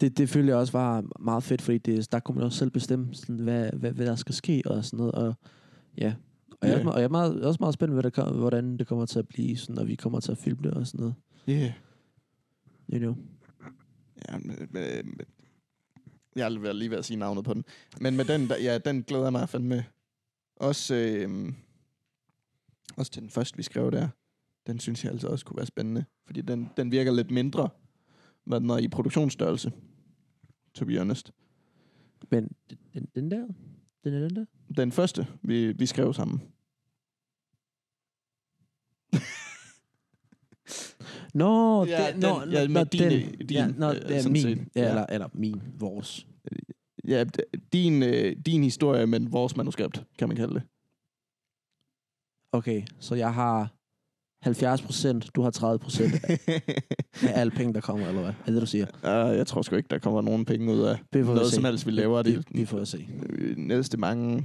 B: det, det følte jeg også var meget fedt, fordi det, der kunne man også selv bestemme, sådan, hvad, hvad, hvad der skal ske og sådan noget. Og, ja. Og jeg, er
C: Ja.
B: også, me- og jeg er meget, også meget spændt, hvad der, kom- hvordan det kommer til at blive, sådan, når vi kommer til at filme det og sådan noget.
C: Yeah.
B: You know.
C: Ja, men, men, men- jeg er lige ved- lige ved at sige navnet på den. Men med den, der, ja, den glæder jeg mig fandme. Også, øh, også til den første, vi skrev der. Den synes jeg altså også kunne være spændende. Fordi den, den virker lidt mindre, hvad den er i produktionsstørrelse. To be honest.
B: Men den- den, den der? Den er den der?
C: Den første, vi, vi skrev sammen.
B: Nå,
C: Ja,
B: det-
C: den-
B: nå, nå,
C: ja,
B: nå,
C: med
B: den,
C: dine- din,
B: ja, nå,
C: øh,
B: det er
C: sådan set.
B: min.
C: Ja.
B: Ja. Eller, eller min, vores.
C: Ja, d- din, øh, din historie, men vores manuskript, kan man kalde det.
B: Okay, så jeg har 70 procent, du har 30 procent af alle penge, der kommer, eller hvad? Er det, du siger?
C: uh, jeg tror sgu ikke, der kommer nogen penge ud af
B: Det får vi
C: noget
B: se.
C: som helst, vi laver. Det,
B: Vi, vi får at se.
C: øh, næste mange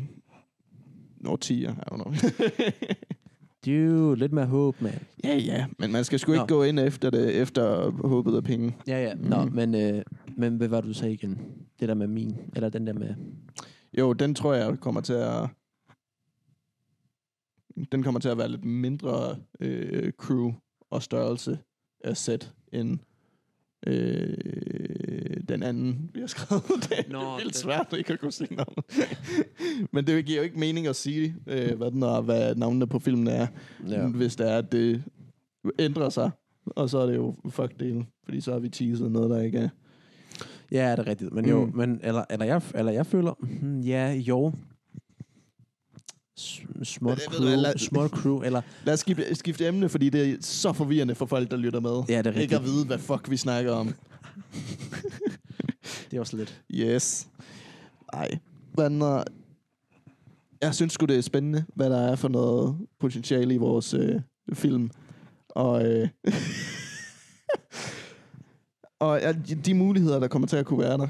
C: årtier. I don't know.
B: Du, lidt mere håb, mand.
C: ja, ja, men man skal sgu ikke
B: Nå.
C: gå ind efter det, efter håbet af penge.
B: Ja, ja. Nå,
C: Mm.
B: mm. men, øh, men hvad var det, du sagde igen? Det der med min, eller den der med...
C: Jo, den tror jeg kommer til at... Den kommer til at være lidt mindre øh, crew og størrelse af set end Øh, den anden, vi har skrevet. Det er
B: Nå,
C: Nå, vildt
B: den-
C: svært ikke at kunne sige navnet. Men det giver jo ikke mening at sige, øh, hvad, den er, hvad navnene på filmen er, ja.
B: Ja.
C: hvis det er, at det ændrer sig. Og så er det jo fuck det, fordi så har vi teaset noget, der ikke er.
B: Ja, det er rigtigt. Men jo,
C: Mm.
B: mm. men, eller, eller, jeg, eller jeg føler, hmm, ja, jo. S- Småt
C: Men jeg ved, hvad
B: crew,
C: jeg-
B: small crew, eller...
C: Lad os skifte, skifte emne, fordi det er så forvirrende for folk, der lytter med.
B: Ja, det er
C: Ikke at
B: rigtigt.
C: vide, hvad fuck vi snakker om.
B: Det er også lidt.
C: Yes. Nej. Men, uh, jeg synes sgu, det er spændende, hvad der er for noget potentiale i vores øh, film. Og, øh, og ja, de- de muligheder, der kommer til at kunne være der.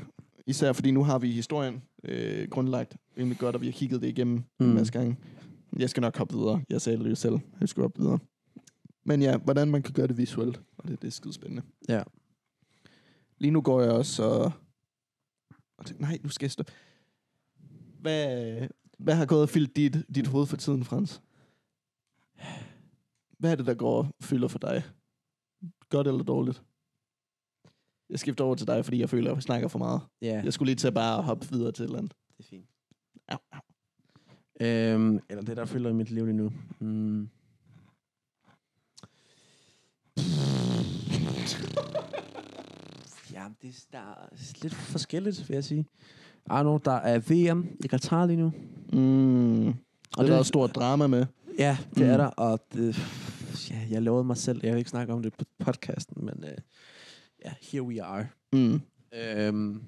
C: Især fordi nu har vi historien øh, grundlagt rimelig godt, og vi har kigget det igennem mm. en
B: Mm.
C: masse gange. Jeg skal nok hoppe videre. Jeg sagde det jo selv. Jeg skal hoppe videre. Men ja, hvordan man kan gøre det visuelt. Og det, det er skide spændende.
B: Ja.
C: Lige nu går jeg også og... og tænker, nej, nu skal jeg stoppe. Hvad, hvad har gået og fyldt dit, dit hoved for tiden, Frans? Hvad er det, der går og fylder for dig? Godt eller dårligt? Jeg skifter over til dig, fordi jeg føler, at jeg snakker for meget.
B: Ja,
C: Jeg skulle lige til at bare hoppe videre til et eller andet.
B: det er fint.
C: Au,
B: Øhm, eller det, der fylder i mit liv lige nu. Mm. Jamen, det er, der er lidt forskelligt, vil jeg sige. Arno, der er VM i Katar lige nu.
C: Mm. Og det, er der er stort drama med.
B: Ja, det mm. er
C: Mm.
B: der, og det, ja, jeg lovede mig selv, jeg vil ikke snakke om det på podcasten, men øh, ja, here we are.
C: Mm.
B: Øhm,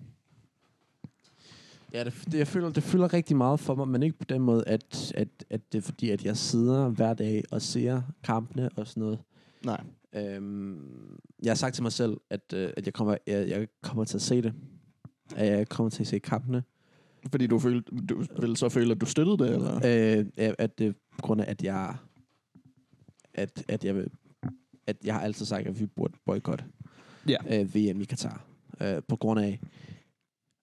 B: ja, det, det, jeg føler, det fylder rigtig meget for mig, men ikke på den måde, at, at, at det er fordi, at jeg sidder hver dag og ser kampene og sådan noget.
C: Nej.
B: Øhm, jeg har sagt til mig selv, at, øh, at jeg, kommer, jeg, jeg kommer til at se det. At jeg kommer til at se kampene.
C: Fordi du, følte, du ville så føle, at du støttede det, eller?
B: Øh, at- at det er på grund af, at jeg... At, at jeg vil at jeg har altid sagt, at vi burde boykotte
C: Ja.
B: øh, VM i Katar. Øh, på grund af,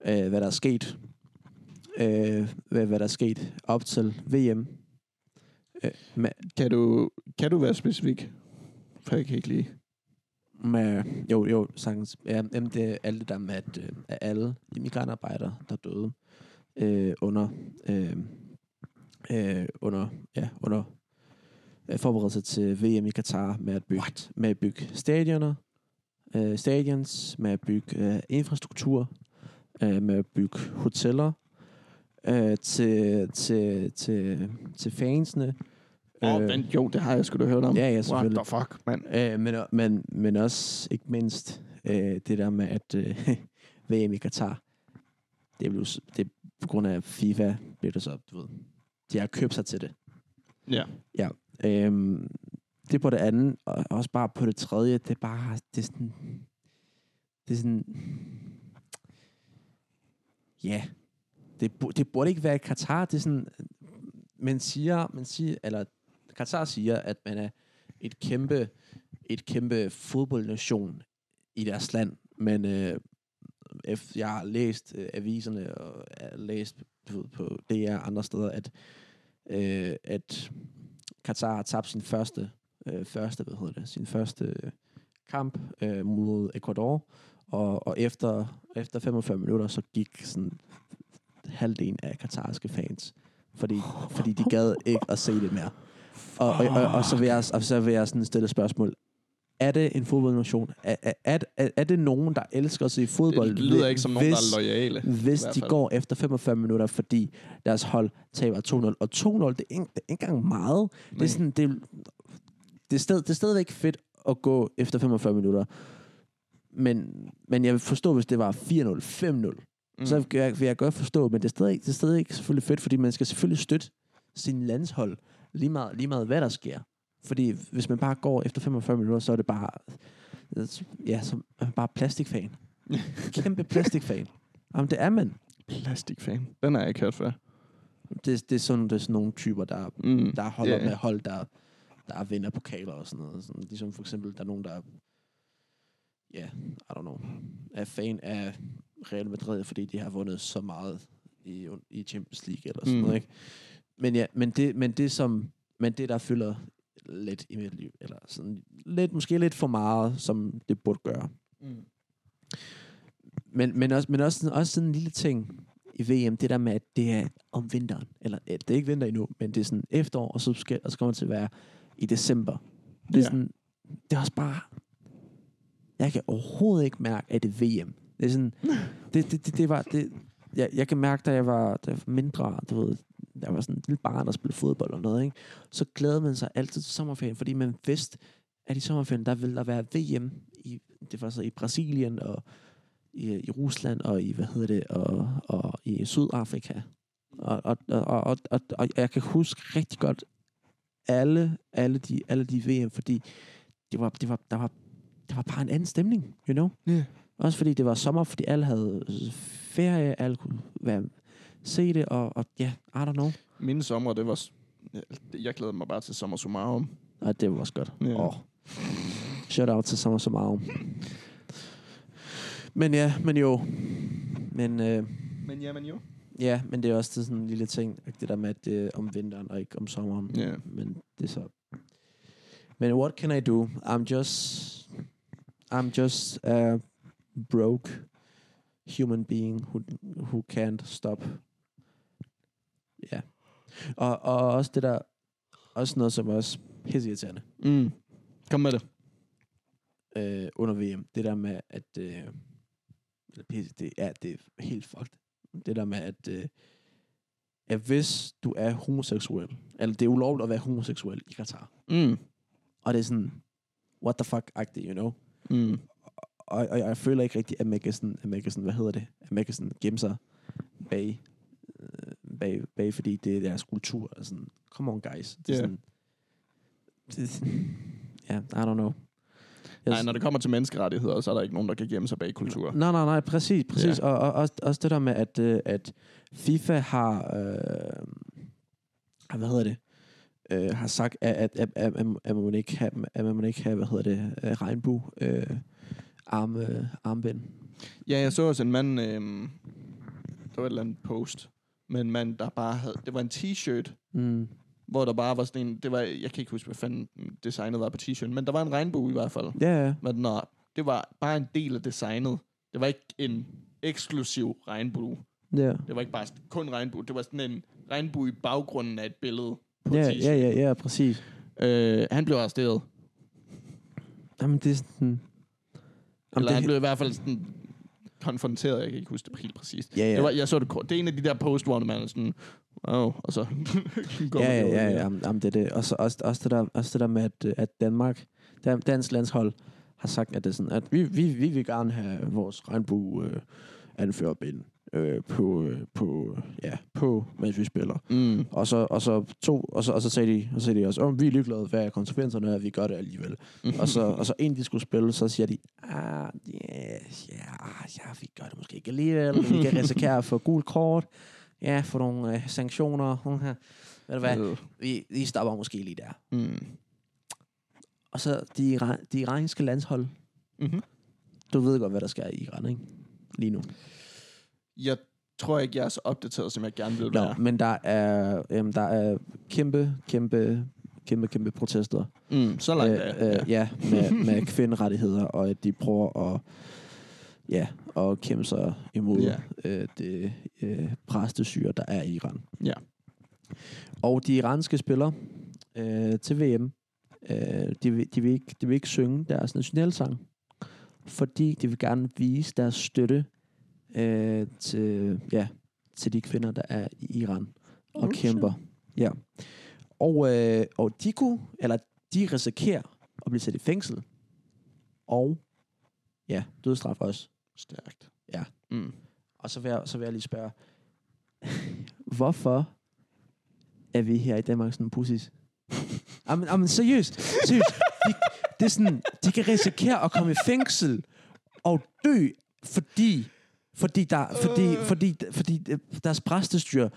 B: øh, hvad der er sket. Øh, hvad, hvad der er sket op til VM. Øh, med,
C: Kan du, kan du være specifik? For jeg kan ikke lige.
B: med, jo, jo, sagtens. Ja, jamen, det er alt det der med, at, øh, at alle immigrantarbejdere, der døde øh, under, øh, øh, under, ja, under øh, forberedelse til VM i Katar med at bygge, med at bygge stadioner, øh, stadions, med at bygge øh, infrastruktur, øh, med at bygge hoteller øh, til, til, til, til fansene.
C: Åh, øh, men jo, det har jeg sgu da hørt om.
B: ja, ja,
C: What
B: selvfølgelig.
C: the fuck, mand?
B: Øh, men, men, men også, ikke mindst, øh, det der med, at øh, VM i Katar, det blev, s- det, på grund af FIFA, blev det så, du ved, de har købt sig til det.
C: Ja.
B: Øhm, det er på det andet, og også bare på det tredje, det er bare, det er sådan, det er sådan, ja, det, bu- det burde ikke være i Katar, det er sådan, man siger, man siger, eller Katar siger, at man er et kæmpe, et kæmpe fodboldnation i deres land, men øh, ef- jeg har læst øh, aviserne og jeg har læst du ved, på DR og andre steder, at, øh, at Katar har tabt sin første, øh, første hvad hedder det, sin første øh, kamp øh, mod Ecuador, og, og efter, efter 45 minutter, så gik sådan halvdelen af katarske fans, fordi, fordi de gad ikke at se det mere. Og, og, og, og så vil jeg, og så vil jeg sådan stille et spørgsmål. Er det en fodboldnation? Er, er, er, er det nogen, der elsker at se fodbold?
C: Det lyder ikke som nogen, der
B: hvis-
C: er lojale.
B: hvis
C: I hvert
B: de
C: fald.
B: går efter 45 minutter, fordi deres hold taber 2-0. Og 2-0, det er ikke, det er ikke engang meget. Det
C: Nej.
B: er, sådan, det, er- det, er sted, det er stadigvæk fedt at gå efter 45 minutter. Men, men jeg vil forstå, hvis det var 4-0, 5-0. Mm. Så vil jeg, vil jeg godt forstå, men det er, stadig, det er stadig ikke selvfølgelig fedt, fordi man skal selvfølgelig støtte sin landshold, lige meget, lige meget hvad der sker. Fordi hvis man bare går efter 45 minutter, så er det bare, ja, så er man bare plastikfan. Kæmpe plastikfan. Jamen, det er man.
C: Plastikfan. Den har jeg ikke hørt før.
B: Det, det, er sådan, det er sådan nogle typer, der,
C: Mm.
B: der holder
C: Ja, ja.
B: yeah. med hold, der, der vinder pokaler og sådan noget. Sådan, ligesom for eksempel, der er nogen, der er, ja, yeah, I don't know, er fan af Real Madrid, fordi de har vundet så meget i, i Champions League eller sådan
C: Mm.
B: mm. noget, ikke? Men ja, men det, men det som, men det der fylder lidt i mit liv, eller sådan lidt, måske lidt for meget, som det burde gøre.
C: Mm.
B: Men, men, også, men også, sådan- også sådan en lille ting i VM, det der med, at det er om vinteren. Eller eh, det er ikke vinter endnu, men det er sådan efterår, og så, skal, og så kommer det til at være i december. Det
C: Ja.
B: er, ja. sådan, det er også bare... Jeg kan overhovedet ikke mærke, at det er VM. Det er sådan... Det, det, det, det var... Det, jeg, jeg kan mærke, da jeg var, da jeg var mindre, du ved, jeg var sådan en lille barn og spillede fodbold og noget, ikke? så glædede man sig altid til sommerferien, fordi man vidste, at i sommerferien, der ville der være VM i, det var så i Brasilien og i, i Rusland og i, hvad hedder det, og, og i Sydafrika. Og, og, og, og, og, og, og jeg kan huske rigtig godt alle, alle, de, alle de VM, fordi det var, det var, der, var, der var bare en anden stemning, you know?
C: Ja.
B: Også fordi det var sommer, fordi alle havde øh, ferie, alle kunne være, se det, og, og ja, yeah, I don't know.
C: Mine sommer, det var... s- Jeg glæder mig bare til sommer summarum.
B: Og det var også godt.
C: Ja.
B: Yeah. Oh. Shout out til Summer Summarum. Men ja, men jo. Men øh,
C: Men ja, men jo.
B: ja, men det er også sådan en lille ting, det der med, at det er om vinteren og ikke om sommeren.
C: Ja.
B: Men det er så... Men what can I do? I'm just... I'm just a broke human being who, who can't stop. Ja. Yeah. Og, og også det der... Også noget, som er også pisseirriterende
C: Mm. Kom med det.
B: øh, under VM. Det der med, at... Øh, eller pisse, det, ja, det er helt fucked. Det der med, at... Øh, at hvis du er homoseksuel, eller det er ulovligt at være homoseksuel i Katar,
C: Mm.
B: og det er sådan, what the fuck, agtigt, you know?
C: Mm.
B: Og, og, jeg føler ikke rigtigt, at man kan sådan, at man kan sådan hvad hedder det, at man kan sådan gemme sig bag, øh, bag, bag fordi det er deres kultur, og sådan, come on guys. Det er
C: Ja.
B: sådan, det, ja, I don't know. Jeg-
C: Nej, når det kommer til menneskerettigheder, så er der ikke nogen, der kan gemme sig bag kultur.
B: Nej, nej, nej, præcis, præcis. Ja. Og, og også, også det der med, at, øh, at FIFA har, øh, ah, hvad hedder det, øh, har sagt, at, at, at, at, at, at man ikke have, at man ikke have, hvad hedder det, øh, regnbue øh, arm, øh, armbind.
C: Ja, jeg så også en mand, øhm, der var et eller andet post, med en mand, der bare havde, det var en t-shirt,
B: Mm.
C: hvor der bare var sådan en, det var, jeg kan ikke huske, hvad fanden designet var på t-shirten, men der var en regnbue i hvert fald.
B: Ja, ja.
C: Men nå, det var bare en del af designet. Det var ikke en eksklusiv regnbue.
B: Ja,
C: Det var ikke bare sådan- kun regnbue. Det var sådan en regnbue i baggrunden af et billede på en
B: ja,
C: t-shirt.
B: ja, ja, ja, præcis.
C: Øh, han blev arresteret.
B: Jamen, det er sådan...
C: Eller det... han
B: det-
C: blev i hvert fald sådan konfronteret, jeg kan ikke huske det helt præcist.
B: Ja, ja.
C: Det var, jeg så det kort. Det er en af de der post hvor man er sådan, wow, og så går
B: ja,
C: man
B: ja,
C: ud.
B: ja, ja, jamen, jamen, det er det. Og så også, også, det der, også det der med, at, øh, at Danmark, Dan- dansk landshold, har sagt, at, det er sådan, at vi, vi, vi vil gerne have vores regnbue øh, anførbind øh, på, øh, på, ja, på, mens vi spiller.
C: Mm.
B: Og så, og så, to, og så, og så sagde de, og så sagde de også, om vi er ligeglade, hvad er konsekvenserne, at vi gør det alligevel. og, så, og så inden de skulle spille, så siger de, ah, yeah, yeah, ja, vi gør det måske ikke alligevel, vi kan risikere at få gul kort, ja, få nogle øh, sanktioner, ved du hvad,
C: Øh,
B: vi, vi stopper måske lige der.
C: Mm.
B: Og så de, ira- de iranske landshold.
C: Mm-hmm.
B: Du ved godt, hvad der sker i Iran, ikke? Lige nu.
C: Jeg tror ikke, jeg er så opdateret, som jeg gerne ville
B: Nå,
C: være.
B: men der er, øhm, der er kæmpe, kæmpe, kæmpe, kæmpe protester.
C: Mm, så langt øh,
B: øh, øh, ja, med, med kvinderettigheder, og at de prøver at, ja, at kæmpe sig imod
C: Ja.
B: øh, det øh, præstesyre, der er i Iran.
C: Ja.
B: Og de iranske spillere øh, til VM, øh, de, vil, de, vil ikke, de vil ikke synge deres nationalsang, fordi de vil gerne vise deres støtte øh, til, ja, til de kvinder, der er i Iran og
C: Okay.
B: kæmper. Ja. Og, øh, og de kunne, eller de risikerer at blive sat i fængsel. Og ja, dødsstraf også.
C: Stærkt.
B: Ja.
C: Mm.
B: Og så vil jeg, så vil jeg lige spørge, hvorfor er vi her i Danmark sådan pussis? Jamen, jamen seriøst, seriøst. De, det er sådan, de kan risikere at komme i fængsel og dø, fordi, fordi, der, fordi, fordi, fordi øh, deres præstestyre,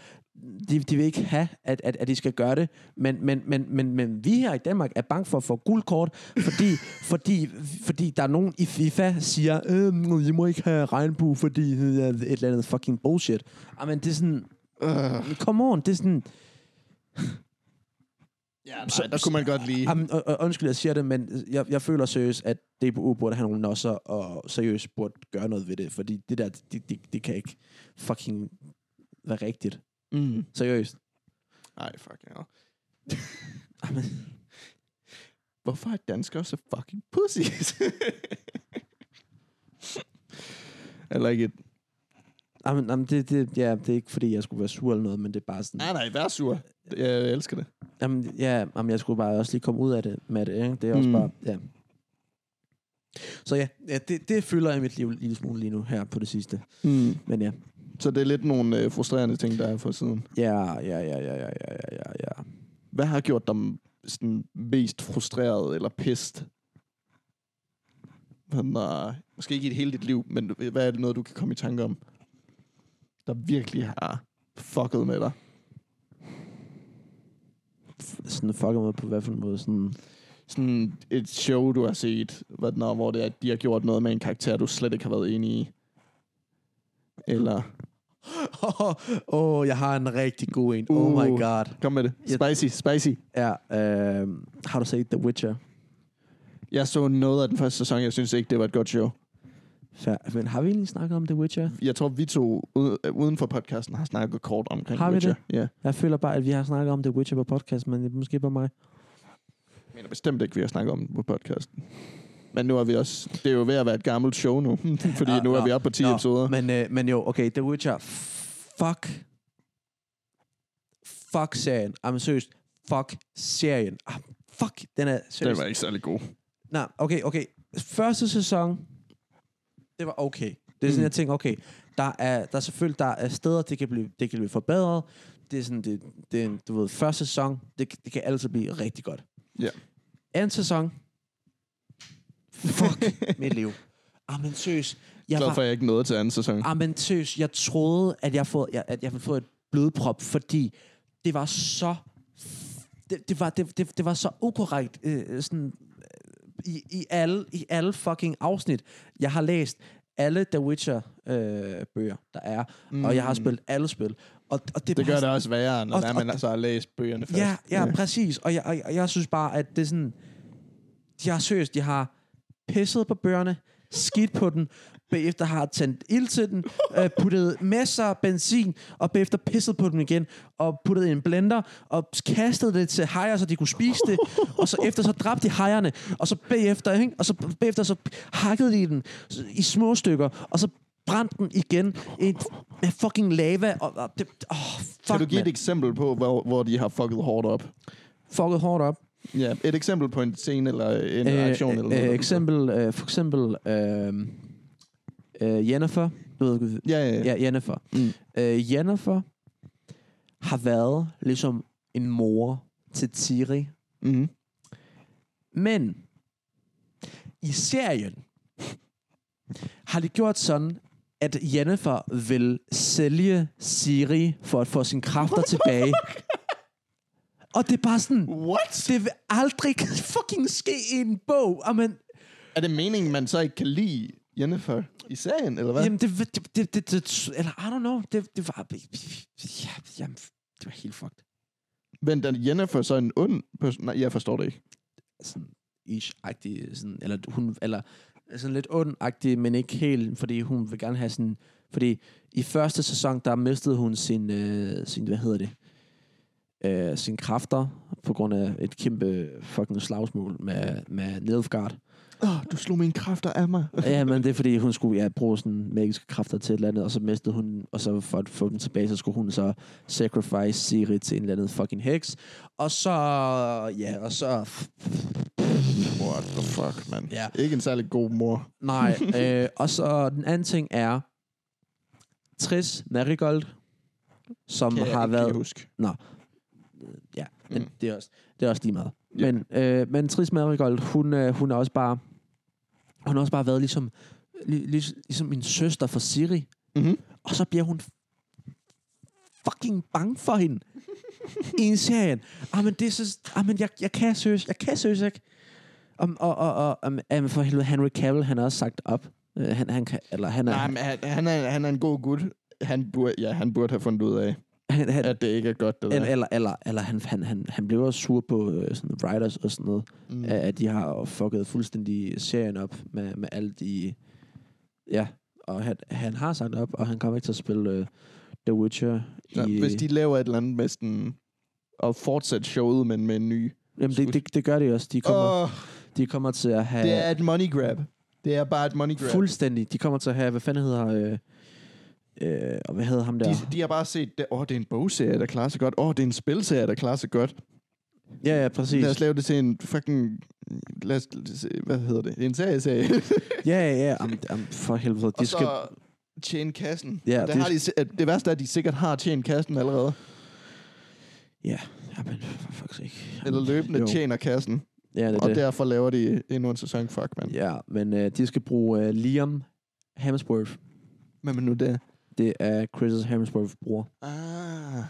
B: de, de vil ikke have, at, at, at de skal gøre det, men, men, men, men, men vi her i Danmark er bange for at få guldkort, fordi, fordi, fordi der er nogen i FIFA, siger, øh, I må ikke have regnbue, fordi øh, et eller andet fucking bullshit. Ej, men det er sådan,
C: Øh,
B: come on, det er sådan,
C: Ja, nej, der kunne man godt lige...
B: Jamen, og, og, undskyld, jeg siger det, men jeg, jeg føler seriøst, at DBU burde have nogle nosser, og seriøst burde gøre noget ved det, fordi det der, det, det, det kan ikke fucking være rigtigt.
C: Mm.
B: Seriøst.
C: Ej, fucking hell.
B: Jamen,
C: Hvorfor er danskere så fucking pussies? I like it.
B: jamen, jamen det, det, ja, det er ikke, fordi jeg skulle være sur eller noget, men det er bare sådan...
C: Nej, nej, vær sur. Jeg elsker det.
B: Jamen, ja, jamen, jeg skulle bare også lige komme ud af det med det, ikke? Det er også
C: Mm.
B: mm. bare, ja. Så ja, ja det, det fylder i mit liv en lille smule lige nu her på det sidste.
C: Mm.
B: Men ja,
C: Så det er lidt nogle øh, frustrerende ting, der er for siden.
B: ja, ja, ja, ja, ja, ja, ja, ja, ja.
C: Hvad har gjort dig sådan, mest frustreret eller pist? Men, øh, måske ikke i hele dit liv, men hvad er det noget, du kan komme i tanke om, der virkelig har fucket med dig?
B: F- Sådan fucker mig på hvad for en måde, sådan...
C: Sådan et show, du har set, hvad den er, hvor det er, at de har gjort noget med en karakter, du slet ikke har været enig i. Eller,
B: Åh, oh, oh, jeg har en rigtig god en.
C: Uh.
B: Oh my god.
C: kom med det. Spicy, spicy.
B: Ja, øh, har du set The Witcher?
C: Jeg så noget af den første sæson, jeg synes ikke, det var et godt show.
B: Fair. Men har vi egentlig snakket om The Witcher?
C: Jeg tror, vi to ude- øh, uden for podcasten har snakket kort omkring
B: Har vi
C: Witcher.
B: det?
C: Ja.
B: Jeg føler bare, at vi har snakket om The Witcher på podcast, men det er måske bare mig.
C: Jeg mener bestemt ikke, vi har snakket om den på podcasten. Men nu er vi også... Det er jo ved at være et gammelt show nu, fordi
B: Nå,
C: nu er
B: nå,
C: vi oppe på 10
B: nå,
C: episoder.
B: Men, øh, men jo, okay, The Witcher. Fuck. Fuck serien. Jamen seriøst. Fuck serien. Ah, fuck, den er
C: Den
B: seriøst.
C: var ikke særlig god.
B: Nej, okay, okay. Første sæson, det var okay. Det er sådan,
C: Mm.
B: mm. jeg tænker, okay, der er, der er selvfølgelig der er steder, det kan blive, det kan blive forbedret. Det er sådan, det, det er en, du ved, første sæson, det, det kan altid blive rigtig godt.
C: Ja.
B: Anden sæson, fuck mit liv. Amen, seriøst. Jeg Ah.
C: Glad
B: var,
C: for, at jeg ikke nåede til anden sæson.
B: Amen, seriøst, jeg troede, at jeg, fået, jeg, at jeg ville få et blodprop, fordi det var så... Det, det, var, det, det, det var så ukorrekt øh, sådan, øh, i, i, alle, i alle fucking afsnit. Jeg har læst alle The Witcher-bøger, øh, bøger, der er, mm. og jeg har spillet alle spil. Og, og det,
C: Det
B: var
C: gør det også værre, når
B: Og-
C: det er,
B: og-
C: man altså har læst bøgerne først.
B: Ja, ja, præcis. Og jeg, og, jeg, og jeg synes bare, at det er sådan... De har seriøst, de har pisset på bøgerne, skidt på den, bagefter har tændt ild til den, øh, puttet masser af benzin, og bagefter pisset på den igen, og puttet i en blender, og kastet det til hajer, så de kunne spise det, og så efter så dræbte de hajerne, og så bagefter, ikke? og så bagefter så hakkede de den i små stykker, og så brændte den igen i et- med fucking lava, og, og det, oh, fuck,
C: Kan du give
B: mand.
C: et eksempel på, hvor, hvor de har fucket hårdt op?
B: fucket hårdt op.
C: Ja, et eksempel på en scene eller en
B: Øh,
C: aktion
B: øh,
C: eller
B: øh,
C: noget.
B: eksempel, øh, for eksempel øh, øh, Jennifer. Du ved,
C: Ja, ja, ja.
B: ja, Jennifer.
C: Mm.
B: Mm. Øh, Jennifer har været ligesom en mor til Tiri.
C: Mm-hmm.
B: Men i serien har de gjort sådan, at Jennifer vil sælge Siri for at få sine kræfter tilbage. Og det er bare sådan,
C: What?
B: det vil aldrig fucking ske i en bog. Amen,
C: Er det meningen, man så ikke kan lide Jennifer i serien, eller hvad?
B: Jamen, det, det, det, det, det, eller I don't know, det, det var, ja, jamen, det var helt fucked.
C: Men er Jennifer så en ond person? Nej, jeg forstår det ikke.
B: Sådan ish-agtig, sådan, eller hun, eller sådan lidt ond men ikke helt, fordi hun vil gerne have sådan, fordi i første sæson, der mistede hun sin, øh, sin hvad hedder det, øh, sine kræfter, på grund af et kæmpe fucking slagsmål med, med Nilfgaard.
C: Åh, oh, du slog mine kræfter af mig.
B: Ja, men det er fordi, hun skulle ja, bruge sådan magiske kræfter til et eller andet, og så mistede hun, og så for at få dem tilbage, så skulle hun så sacrifice Siri til en eller anden fucking heks. Og så, ja, og så,
C: What the fuck, man.
B: Ja.
C: Ikke en særlig god mor.
B: nej. øh, og så den anden ting er, Tris Marigold, som
C: Kan jeg
B: har
C: ikke
B: været...
C: lige huske.
B: Ja, men
C: Mm.
B: mm. det, er også, det er også lige meget.
C: Ja.
B: Men, øh, men Tris Marigold, hun, øh, hun er også bare... Hun har også bare været ligesom, lig, lig, ligesom min søster for Siri.
C: Mm-hmm.
B: Og så bliver hun fucking bange for hende i en serien. Ah, men det er så... Ah, men jeg, jeg kan søs. Jeg kan søs, ikke? Om, og, og, og om, jamen for helvede, Henry Cavill, han har også sagt op. Øh, han, han, kan, eller han, er,
C: Nej, men han, han, er, han er en god gut. Han burde, ja, han burde have fundet ud af.
B: han, han,
C: at det ikke er godt, det
B: eller,
C: der.
B: eller, eller, eller han, han, han, han blev også sur på øh, sådan writers og sådan noget,
C: Mhm.
B: mm. at, at de har fucket fuldstændig serien op med, med alle de... Ja, og han, han har sagt op, og han kommer ikke til at spille øh, The Witcher i...
C: Nå, Hvis de laver et eller andet med sådan... Og fortsætte showet, men med en ny...
B: jamen, det, det, det gør de også. De kommer, oh,
C: Åh,
B: de kommer til at have...
C: det er et money grab. Det er bare et money grab.
B: Fuldstændig. De kommer til at have... Hvad fanden hedder... Øh, øh, og hvad hedder ham der?
C: De, de har bare set, det- åh, oh, det er en bogserie, der klarer sig godt. Åh, oh, det er en spilserie, der klarer sig godt.
B: ja, ja, præcis.
C: Lad os lave det til en fucking... Lad os, hvad hedder det? En serieserie.
B: Ja, ja, ja. Am, am, for helvede. De
C: og
B: skal,
C: så tjene kassen.
B: Ja,
C: det,
B: det-
C: har de, si- at det værste er, at de sikkert har tjent kassen allerede.
B: Ja, jamen, for fuck's sake.
C: Eller løbende
B: Jo.
C: jo. tjener kassen.
B: Ja, det er
C: Og
B: det.
C: derfor laver de endnu en sæson. Fuck, mand.
B: Ja, men øh, de skal bruge øh, Liam Hemsworth.
C: Hvad med nu det?
B: Det er Chris Hemsworths bror.
C: Ah.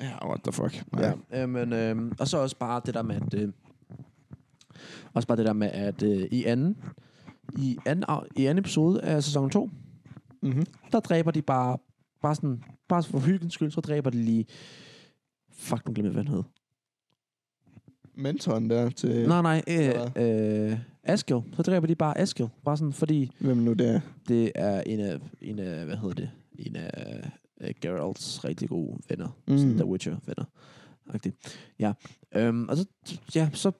C: Ja, what the fuck. Nej.
B: Ja. Øh, men, øh, og så også bare det der med, at... Øh, også bare det der med, at øh, i anden... I anden, af- i anden episode af sæson 2,
C: Mm-hmm.
B: der dræber de bare... Bare sådan... Bare for hyggens skyld, så dræber de lige... Fuck, nu glemmer jeg, hvad han hed.
C: Mentoren der til...
B: Nej, nej.
C: Eller
B: Øh, øh, Askell. Så dræber de bare Askell. Bare sådan, fordi...
C: Hvem nu det er?
B: Det er en af, en af hvad hedder det, en af uh, Geralts rigtig gode venner. Mm.
C: Mm.
B: Sådan The Witcher-venner. Agtigt. Ja. Øhm, og så, ja, så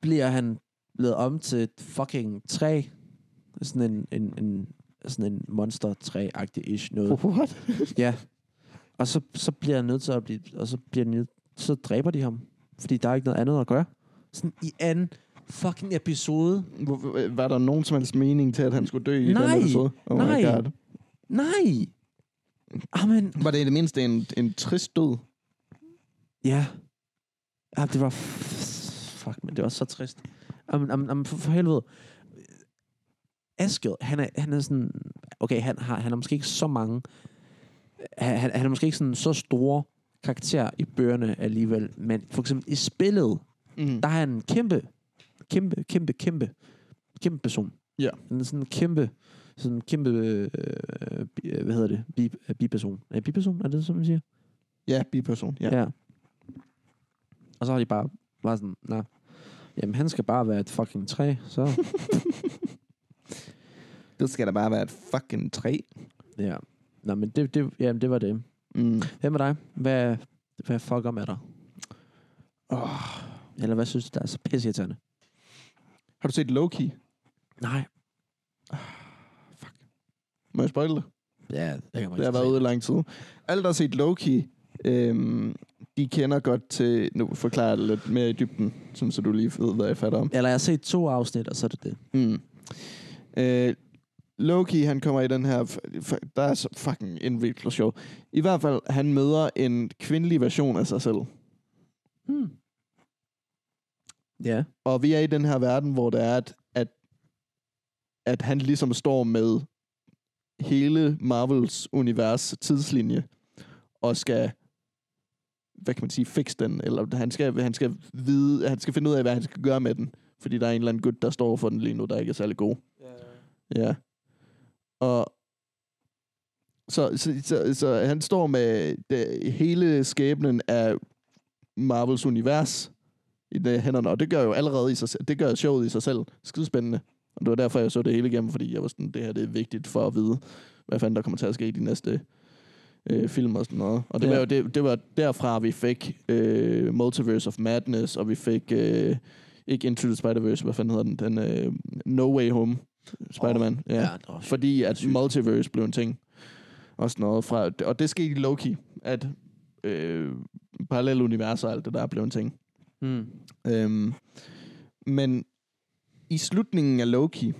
B: bliver han lavet om til et fucking træ. Sådan en, en, en, sådan en monster træ agtig ish noget.
C: What?
B: Ja. Og så, så bliver han nødt til at blive... Og så, bliver han nødt, så dræber de ham. Fordi der er ikke noget andet at gøre. Sådan i anden fucking episode.
C: Hvor- Var der nogen som helst mening til, at han skulle dø i
B: Nej.
C: den episode? Oh
B: Nej.
C: My God.
B: Nej! Amen.
C: Var det i det mindste en, en trist død?
B: Ja. Ja, det var... f- Fuck, men det var så trist. Jamen, jamen, jamen for, for helvede. Askel, han er, han er sådan... Okay, han har, han har måske ikke så mange... Han, han, han er måske ikke sådan så store karakterer i bøgerne alligevel, men for eksempel i spillet,
C: Mm.
B: der er han en kæmpe, kæmpe, kæmpe, kæmpe, kæmpe person.
C: Ja.
B: Han er sådan en kæmpe, sådan en kæmpe, øh, øh, bi- øh, hvad hedder det, bi, øh, biperson. Er det biperson, er det sådan, man siger?
C: Ja, biperson. Ja.
B: ja. Og så har de bare, bare sådan, nej, jamen han skal bare være et fucking træ, så.
C: Det skal da bare være et fucking træ.
B: ja. Nå, men det, det, jamen, det var det.
C: Mm.
B: Hvad med dig? Hvad, hvad fucker med dig?
C: Oh.
B: Eller hvad synes du, der er så pisseirriterende?
C: Har du set Loki?
B: Nej.
C: Må jeg spoil det?
B: Ja, det
C: Det
B: kan man
C: har
B: ikke
C: været
B: se.
C: ude i lang tid. Alle, der har set Loki, øhm, de kender godt til... Nu forklarer jeg det lidt mere i dybden, sådan, så du lige ved, hvad jeg fatter om.
B: Eller jeg har set to afsnit, og så er det det.
C: Mm. Øh, Loki, han kommer i den her... f- f- Der er så fucking indviklet sjov. I hvert fald, han møder en kvindelig version af sig selv.
B: Hmm. Ja.
C: Og vi er i den her verden, hvor det er, at, at, at han ligesom står med hele Marvels univers tidslinje, og skal, hvad kan man sige, fikse den, eller han skal, han skal vide, han skal finde ud af, hvad han skal gøre med den, fordi der er en eller anden gut, der står for den lige nu, der ikke er særlig god. Ja. Og så, så, så, så han står med det, hele skæbnen af Marvels univers i de hænderne, og det gør jo allerede i sig selv, det gør showet i sig selv skidespændende. Og det var derfor, jeg så det hele igennem, fordi jeg var sådan, det her det er vigtigt for at vide, hvad fanden der kommer til at ske i de næste øh, film og sådan noget. Og det,
B: Ja.
C: ja. var, jo, det, det var derfra, vi fik øh, Multiverse of Madness, og vi fik, øh, ikke Into the Spider-Verse, hvad fanden hedder den, den øh, No Way Home, Spider-Man. Oh, ja.
B: det var
C: Fordi at
B: Sygt.
C: multiverse blev en ting. Og sådan noget fra... Og det skete i Loki, at øh, parallelle universer og alt det der blev en ting.
B: Mm.
C: Øhm, men i slutningen af Loki,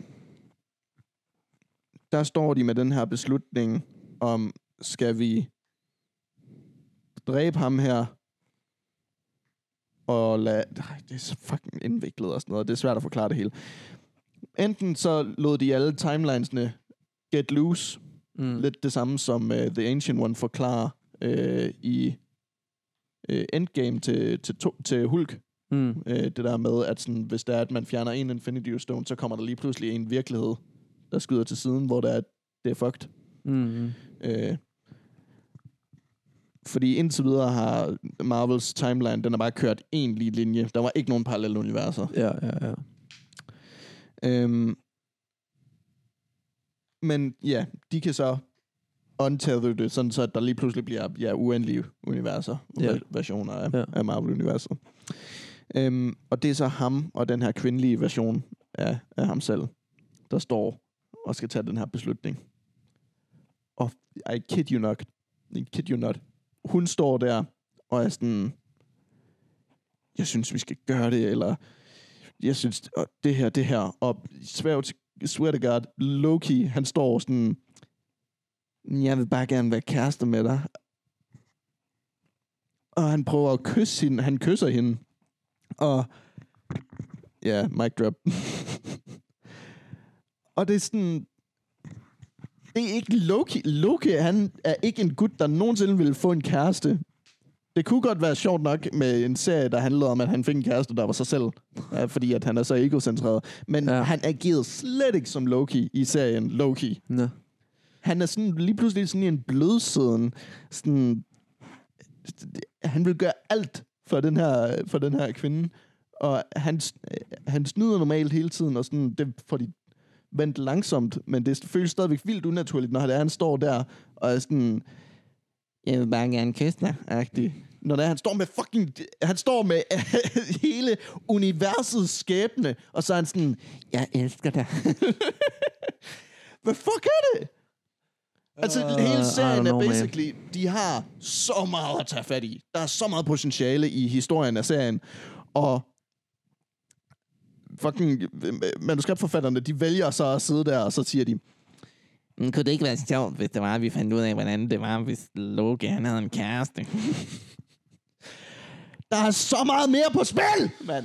C: der står de med den her beslutning om, skal vi dræbe ham her, og lad... Ej, det er så fucking indviklet og sådan noget. Det er svært at forklare det hele. Enten så lod de alle timelinesne get loose,
B: Mm.
C: lidt det samme som uh, The Ancient One forklarer uh, i uh, Endgame til, til, to, til Hulk
B: Mm.
C: øh, det der med, at sådan, hvis der er, at man fjerner en Infinity Stone, så kommer der lige pludselig en virkelighed,
B: Hmm.
C: der skyder til siden, hvor der er, det er fucked.
B: Mm.
C: Øh, Fordi indtil videre har Marvels timeline, den har bare kørt en lige linje. Der var ikke nogen parallelle universer.
B: Ja, ja, ja.
C: Øhm, men ja, de kan så untether det, sådan så at der lige pludselig bliver ja, uendelige universer,
B: Ja.
C: ja. versioner af,
B: Ja.
C: ja. af Marvel-universet. Øhm, og det er så ham og den her kvindelige version af, af ham selv, der står og skal tage den her beslutning. Og I kid you not. I kid you not. Hun står der og er sådan, jeg synes, vi skal gøre det, eller jeg synes, og det her, det her, og swear to, swear to God, Loki, han står sådan, jeg vil bare gerne være kærester med dig. Og han prøver at kysse hende, han kysser hende, og ja, mic drop. og det er sådan, det er ikke Loki. Loki, han er ikke en gut, der nogensinde ville få en kæreste. Det kunne godt være sjovt nok med en serie, der handlede om, at han fik en kæreste, der var sig selv. Ja, fordi at han er så egocentreret. Men
B: Ja.
C: ja. han agerede slet ikke som Loki i serien Loki.
B: Nå.
C: Han er sådan lige pludselig sådan i en blødsiden. Sådan, han vil gøre alt for den her, for den her kvinde. Og han, han snyder normalt hele tiden, og sådan, det får de vendt langsomt, men det føles stadigvæk vildt unaturligt, når det er, han står der og er sådan, jeg vil bare gerne kysse dig, agtig. Når det er, han står med fucking, han står med hele universets skæbne, og så er han sådan, jeg elsker dig. Hvad fuck er det? Altså,
B: Øh,
C: uh, hele
B: I don't
C: serien
B: know,
C: er
B: man.
C: basically, man. de har så meget at tage fat i. Der er så meget potentiale i historien af serien, og fucking øh, manuskriptforfatterne, de vælger så at sidde der, og så siger de,
D: Men kunne det ikke være sjovt, hvis det var, at vi fandt ud af, hvordan det var, hvis Loke han havde en kæreste?
C: der er så meget mere på spil, mand.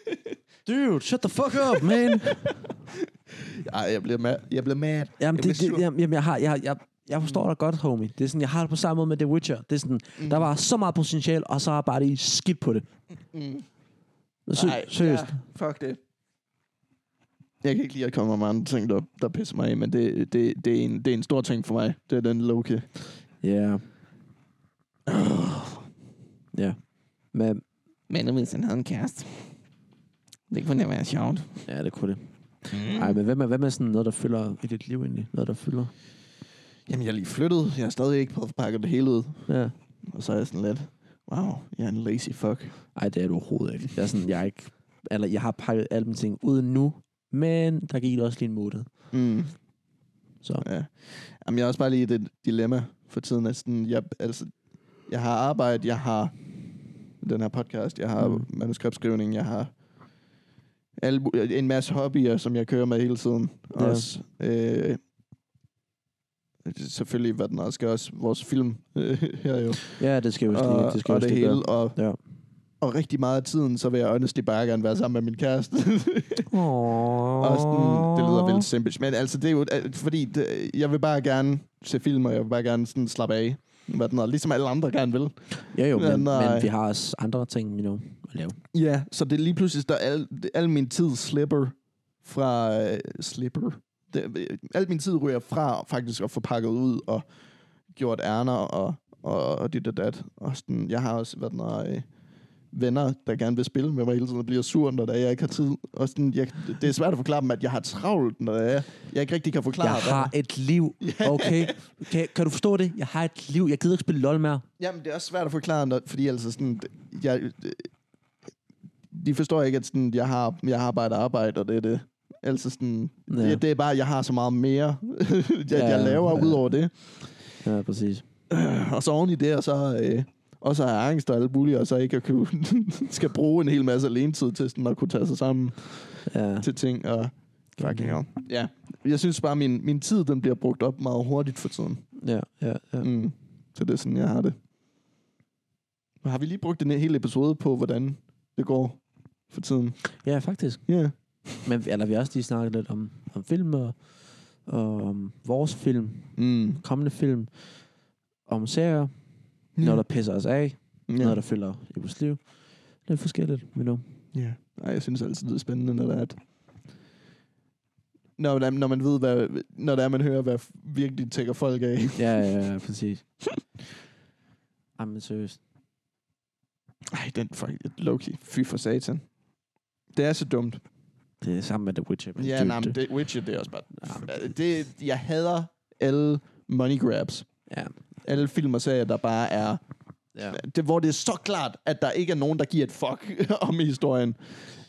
B: Dude, shut the fuck up, man.
C: Ej, jeg bliver mad. Jeg bliver mad.
B: Jamen,
C: jeg
B: det, det, jamen, jamen, jeg, har, jeg, jeg, jeg forstår dig godt, homie. Det er sådan, jeg har det på samme måde med The Witcher. Det er sådan, mm. der var så meget potentiale, og så har jeg bare lige skidt på det. Mm. Sø,
C: Nej,
B: seriøst.
C: Ja, fuck det. Jeg kan ikke lide at komme med andre ting, der, der pisser mig af, men det, det, det, er en, det er en stor ting for mig. Det er den Loki.
B: Ja. Yeah. Ja. Men,
D: Men nu, hvis han havde en kæreste? Det kunne da være sjovt.
B: ja, det kunne det. Mm. Ej, men hvad med, hvad med sådan noget, der fylder i dit liv egentlig? Noget, der fylder?
C: Jamen, jeg er lige flyttet. Jeg har stadig ikke fået pakket det hele ud.
B: Ja.
C: Og så er jeg sådan lidt, wow, jeg er en lazy fuck.
B: Ej, det er du overhovedet ikke. Jeg, er sådan, jeg, er ikke, eller, jeg har pakket alle mine ting ud nu, men der gik også lige en måned.
C: Mm.
B: Så.
C: Ja. Jamen, jeg er også bare lige i det dilemma for tiden. At sådan, jeg, altså, jeg har arbejde, jeg har den her podcast, jeg har
B: Mm.
C: mm. manuskriptskrivning, jeg har alle, mu- en masse hobbyer, som jeg kører med hele tiden.
B: Ja.
C: Ja. Også, øh, selvfølgelig, hvad den også skal også, vores film øh, her jo.
B: Ja, det skal vi også lige.
C: Og,
B: Det skal vi
C: og
B: også
C: det
B: lige gøre.
C: hele, og,
B: Ja.
C: og rigtig meget af tiden, så vil jeg honestly bare gerne være sammen med min kæreste.
B: Aww.
C: Og sådan, det lyder vildt simpelt. Men altså, det er jo, øh, fordi det, jeg vil bare gerne se film, og jeg vil bare gerne sådan slappe af. Hvad den er, ligesom alle andre gerne vil.
B: Ja, jo, men,
C: Men nej.
B: men vi har også andre ting, you know, at lave.
C: Ja, så det er lige pludselig, der al, al min tid slipper fra... Øh, slipper? Det, øh, al min tid ryger fra faktisk at få pakket ud og gjort ærner og, og, og dit og dat. Og sådan, jeg har også været når, øh, venner, der gerne vil spille med mig hele tiden, og bliver sur, når der er, jeg ikke har tid. Og sådan, jeg, det er svært at forklare dem, at jeg har travlt, når jeg, jeg ikke rigtig kan forklare,
B: Jeg
C: hvad-
B: har et liv, okay? Kan, kan du forstå det? Jeg har et liv. Jeg gider ikke spille LOL mere.
C: Jamen, det er også svært at forklare, når, fordi altså sådan, jeg, de forstår ikke, at sådan, jeg, har, jeg har bare et arbejde, og det er det. Altså sådan,
B: Ja.
C: ja. det, det er bare, jeg har så meget mere, jeg, ja, jeg laver
B: ja.
C: ja. ud over det.
B: Ja, præcis.
C: Og så oven i det, og så, øh, og så er angst og alt muligt, og så ikke at kunne, skal bruge en hel masse alenetid til sådan at kunne tage sig sammen
B: Ja.
C: til ting. Og, fucking hell. Ja, jeg synes bare, min, min tid, den bliver brugt op meget hurtigt for tiden.
B: Ja, ja, ja.
C: Mm. Så det er sådan, jeg har det. Men Har vi lige brugt en hel episode på, hvordan det går for tiden?
B: Ja, faktisk.
C: Ja. Yeah.
B: Men vi- eller, vi har også lige snakket lidt om, om film og, og om vores film,
C: Mm.
B: kommende film, om serier, mm. noget, der pisser os af,
C: Ja.
B: yeah. noget, der fylder i vores liv. Lidt forskelligt, you know.
C: Ja. Ej, jeg synes altid, det er spændende, når der er et... Når, der- når man ved, hvad, når der er, man hører, hvad virkelig tækker folk af.
B: Ja, ja, ja, præcis. Jamen seriøst.
C: Ej, den for Loki. Fy for satan. Det er så dumt.
B: Det er sammen med The Witcher. men
C: Ja,
B: det-
C: nej, men
B: det-
C: det, Witcher, det er også bare...
B: Ja, men-
C: Det, jeg hader alle money grabs.
B: Ja.
C: Alle film og serier, der bare er...
B: ja.
C: Det, hvor det er så klart, at der ikke er nogen, der giver et fuck om historien.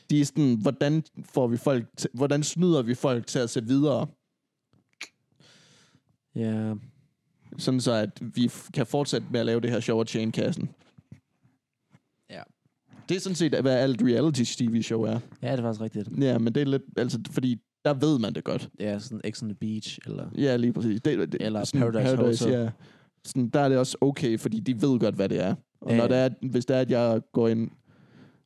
C: De er sådan, hvordan, får vi folk til, hvordan snyder vi folk til at se videre?
B: ja.
C: Sådan så, at vi f- kan fortsætte med at lave det her show og tjene kassen.
B: Ja.
C: Det er sådan set, hvad alt reality-tv-show er.
B: Ja, det er faktisk rigtigt.
C: Ja, men det er lidt... Altså, fordi der ved man det godt.
B: Ja, sådan X on the Beach, eller...
C: Ja, lige præcis. Det, det,
B: Eller Paradise Hotel.
C: Ja. Sådan, der er det også okay, fordi de ved godt, hvad det er. Og
B: Ja,
C: når
B: ja.
C: det er, hvis det er, at jeg går ind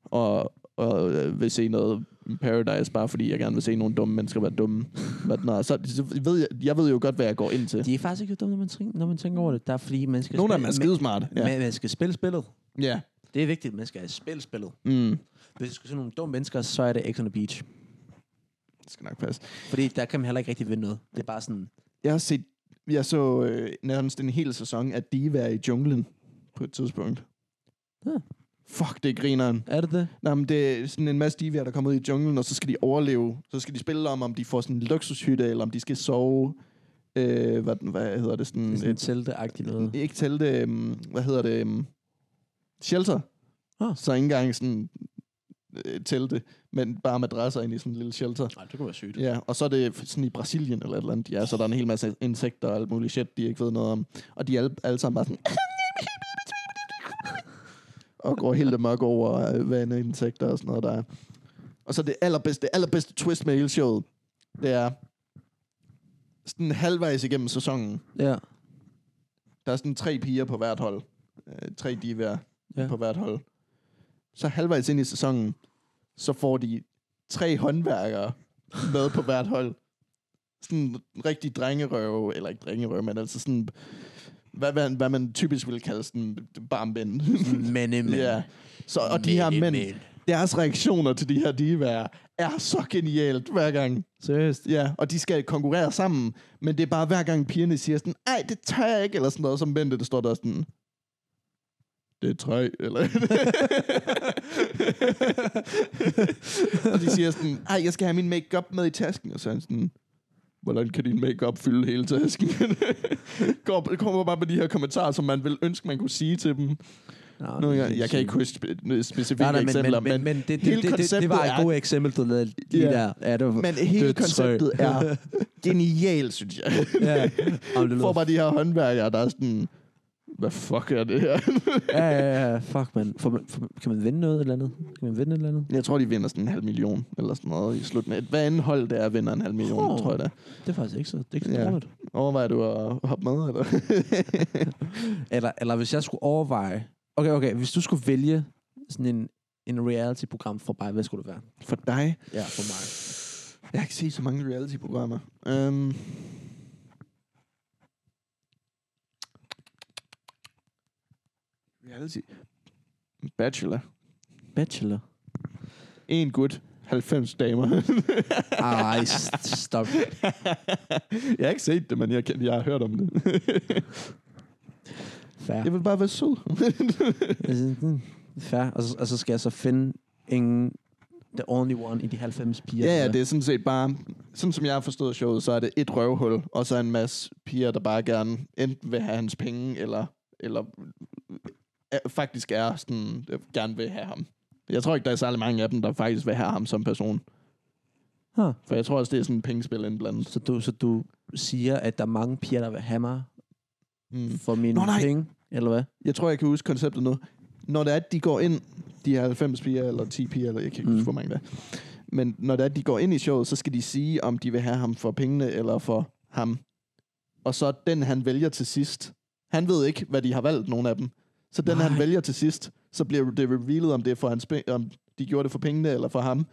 C: og, og øh, vil se noget Paradise, bare fordi jeg gerne vil se nogle dumme mennesker være dumme, hvad den er, så, så ved jeg, jeg ved jo godt, hvad jeg går ind til.
B: De er faktisk ikke så dumme, når man, trin- når man tænker over det. Der er fordi, man skal
C: Nogle af dem er
B: man,
C: skidesmarte. Ja.
B: man, man skal spille spillet.
C: ja.
B: Det er vigtigt, man skal spille spillet.
C: Mm.
B: Hvis du skal se nogle dumme mennesker, så er det X on the Beach.
C: Det skal nok passe.
B: Fordi der kan man heller ikke rigtig vinde noget. Det er bare sådan...
C: Jeg har set, jeg så øh, nærmest en hel sæson af Diva i junglen på et tidspunkt.
B: Ja.
C: Fuck, det er grineren.
B: Er det det?
C: Nej, men det er sådan en masse divier, der kommer ud i junglen, og så skal de overleve. Så skal de spille om, om de får sådan en luksushytte, eller om de skal sove... Øh, hvad, den- hvad hedder Mm, det? Sådan,
B: Det er sådan
C: et,
B: telte-agtigt noget.
C: ikke telte... Um, hvad hedder det? Um, shelter.
B: Ah.
C: Så ikke engang sådan øh, telte, men bare madrasser ind i sådan en lille shelter.
B: Nej, det kunne være sygt.
C: Ja, og så er det sådan i Brasilien eller et eller andet. Ja, så er der en hel masse insekter og alt muligt shit, de ikke ved noget om. Og de er alle, alle sammen bare sådan... og går helt amok over, øh, hvad en insekter og sådan noget der er. Og så det allerbedste, det allerbedste twist med hele showet, det er sådan halvvejs igennem sæsonen,
B: Ja.
C: der er sådan tre piger på hvert hold. Øh, tre divær ja.
B: Ja.
C: på hvert hold. Så halvvejs ind i sæsonen, så får de tre håndværkere med på hvert hold. Sådan rigtig drengerøve, eller ikke drengerøve, men altså sådan, hvad, hvad, hvad man typisk ville kalde sådan barmænd.
B: Men, men.
C: ja. Så, og de her mænd,
B: Mændemænd.
C: deres reaktioner til de her divaer er så genialt hver gang.
B: Seriøst?
C: Ja, og de skal konkurrere sammen, men det er bare hver gang pigerne siger sådan, ej, det tør jeg ikke, eller sådan noget, så mændene, det står der sådan, det er træ, eller... og de siger sådan, ej, jeg skal have min makeup med i tasken, og så er han sådan, hvordan kan din makeup fylde hele tasken? Går, kommer bare med de her kommentarer, som man vil ønske, man kunne sige til dem.
B: Nå,
C: Nogle
B: det er
C: gange, jeg kan
B: sygt.
C: ikke huske spe- specifikke
B: Nej, nej, men,
C: eksempler,
B: men, men, men det, det,
C: hele
B: det, det, det,
C: konceptet
B: var
C: er-
B: et godt eksempel, du lavede lige
C: Ja.
B: der. Ja, det var,
C: Men hele
B: det er et strøg.
C: konceptet er genialt, synes jeg.
B: ja. Om det
C: Du får
B: lyder
C: bare de her håndværkere, der er sådan, hvad fuck er det her?
B: Ja, ja, ja. Fuck, man. Får man, får, man- kan man vinde noget eller andet? Kan man vinde et eller andet?
C: jeg tror, de vinder sådan en halv million, eller sådan noget i slutningen. Hvad anden hold der vinder en halv million,
B: Huh.
C: tror jeg da.
B: Det er faktisk ikke så, det er ikke så
C: Ja.
B: ja. dårligt.
C: Overvejer du at hoppe med, eller?
B: Eller, eller hvis jeg skulle overveje... Okay, okay. Hvis du skulle vælge sådan en, en reality-program for mig, hvad skulle det være?
C: For dig?
B: Ja, for mig.
C: Jeg har ikke set så mange reality-programmer. Um, reality? Bachelor.
B: Bachelor.
C: En gut. 90 damer.
B: Ej, st- stop.
C: jeg har ikke set det, men jeg, jeg har hørt om det.
B: Fair.
C: Jeg vil bare være sød.
B: Altså, mm, Fair. Og så, og så skal jeg så finde en... The only one i de 90 piger.
C: ja, ja,
B: der-
C: det er sådan set bare... Sådan som jeg har forstået showet, så er det et røvhul, og så en masse piger, der bare gerne enten vil have hans penge, eller, eller er, faktisk er sådan, øh, gerne vil have ham. Jeg tror ikke, der er særlig mange af dem, der faktisk vil have ham som person.
B: Huh.
C: For jeg tror også, det er sådan en pengespil indblandet.
B: Så du, så du siger, at der er mange piger, der vil have mig
C: Mm.
B: for mine
C: Nå, nej.
B: penge? Eller hvad?
C: Jeg tror, jeg kan huske konceptet nu. Når det er, at de går ind, de her 90 piger, eller 10 piger, eller jeg kan ikke huske,
B: Mm.
C: hvor mange der er. Men når det er, at de går ind i showet, så skal de sige, om de vil have ham for pengene, eller for ham. Og så den, han vælger til sidst. Han ved ikke, hvad de har valgt, nogen af dem. Så den, Nej. han
B: Nej.
C: vælger til sidst, så bliver det revealet, om, det er for hans, pe- om de gjorde det for pengene, eller for ham.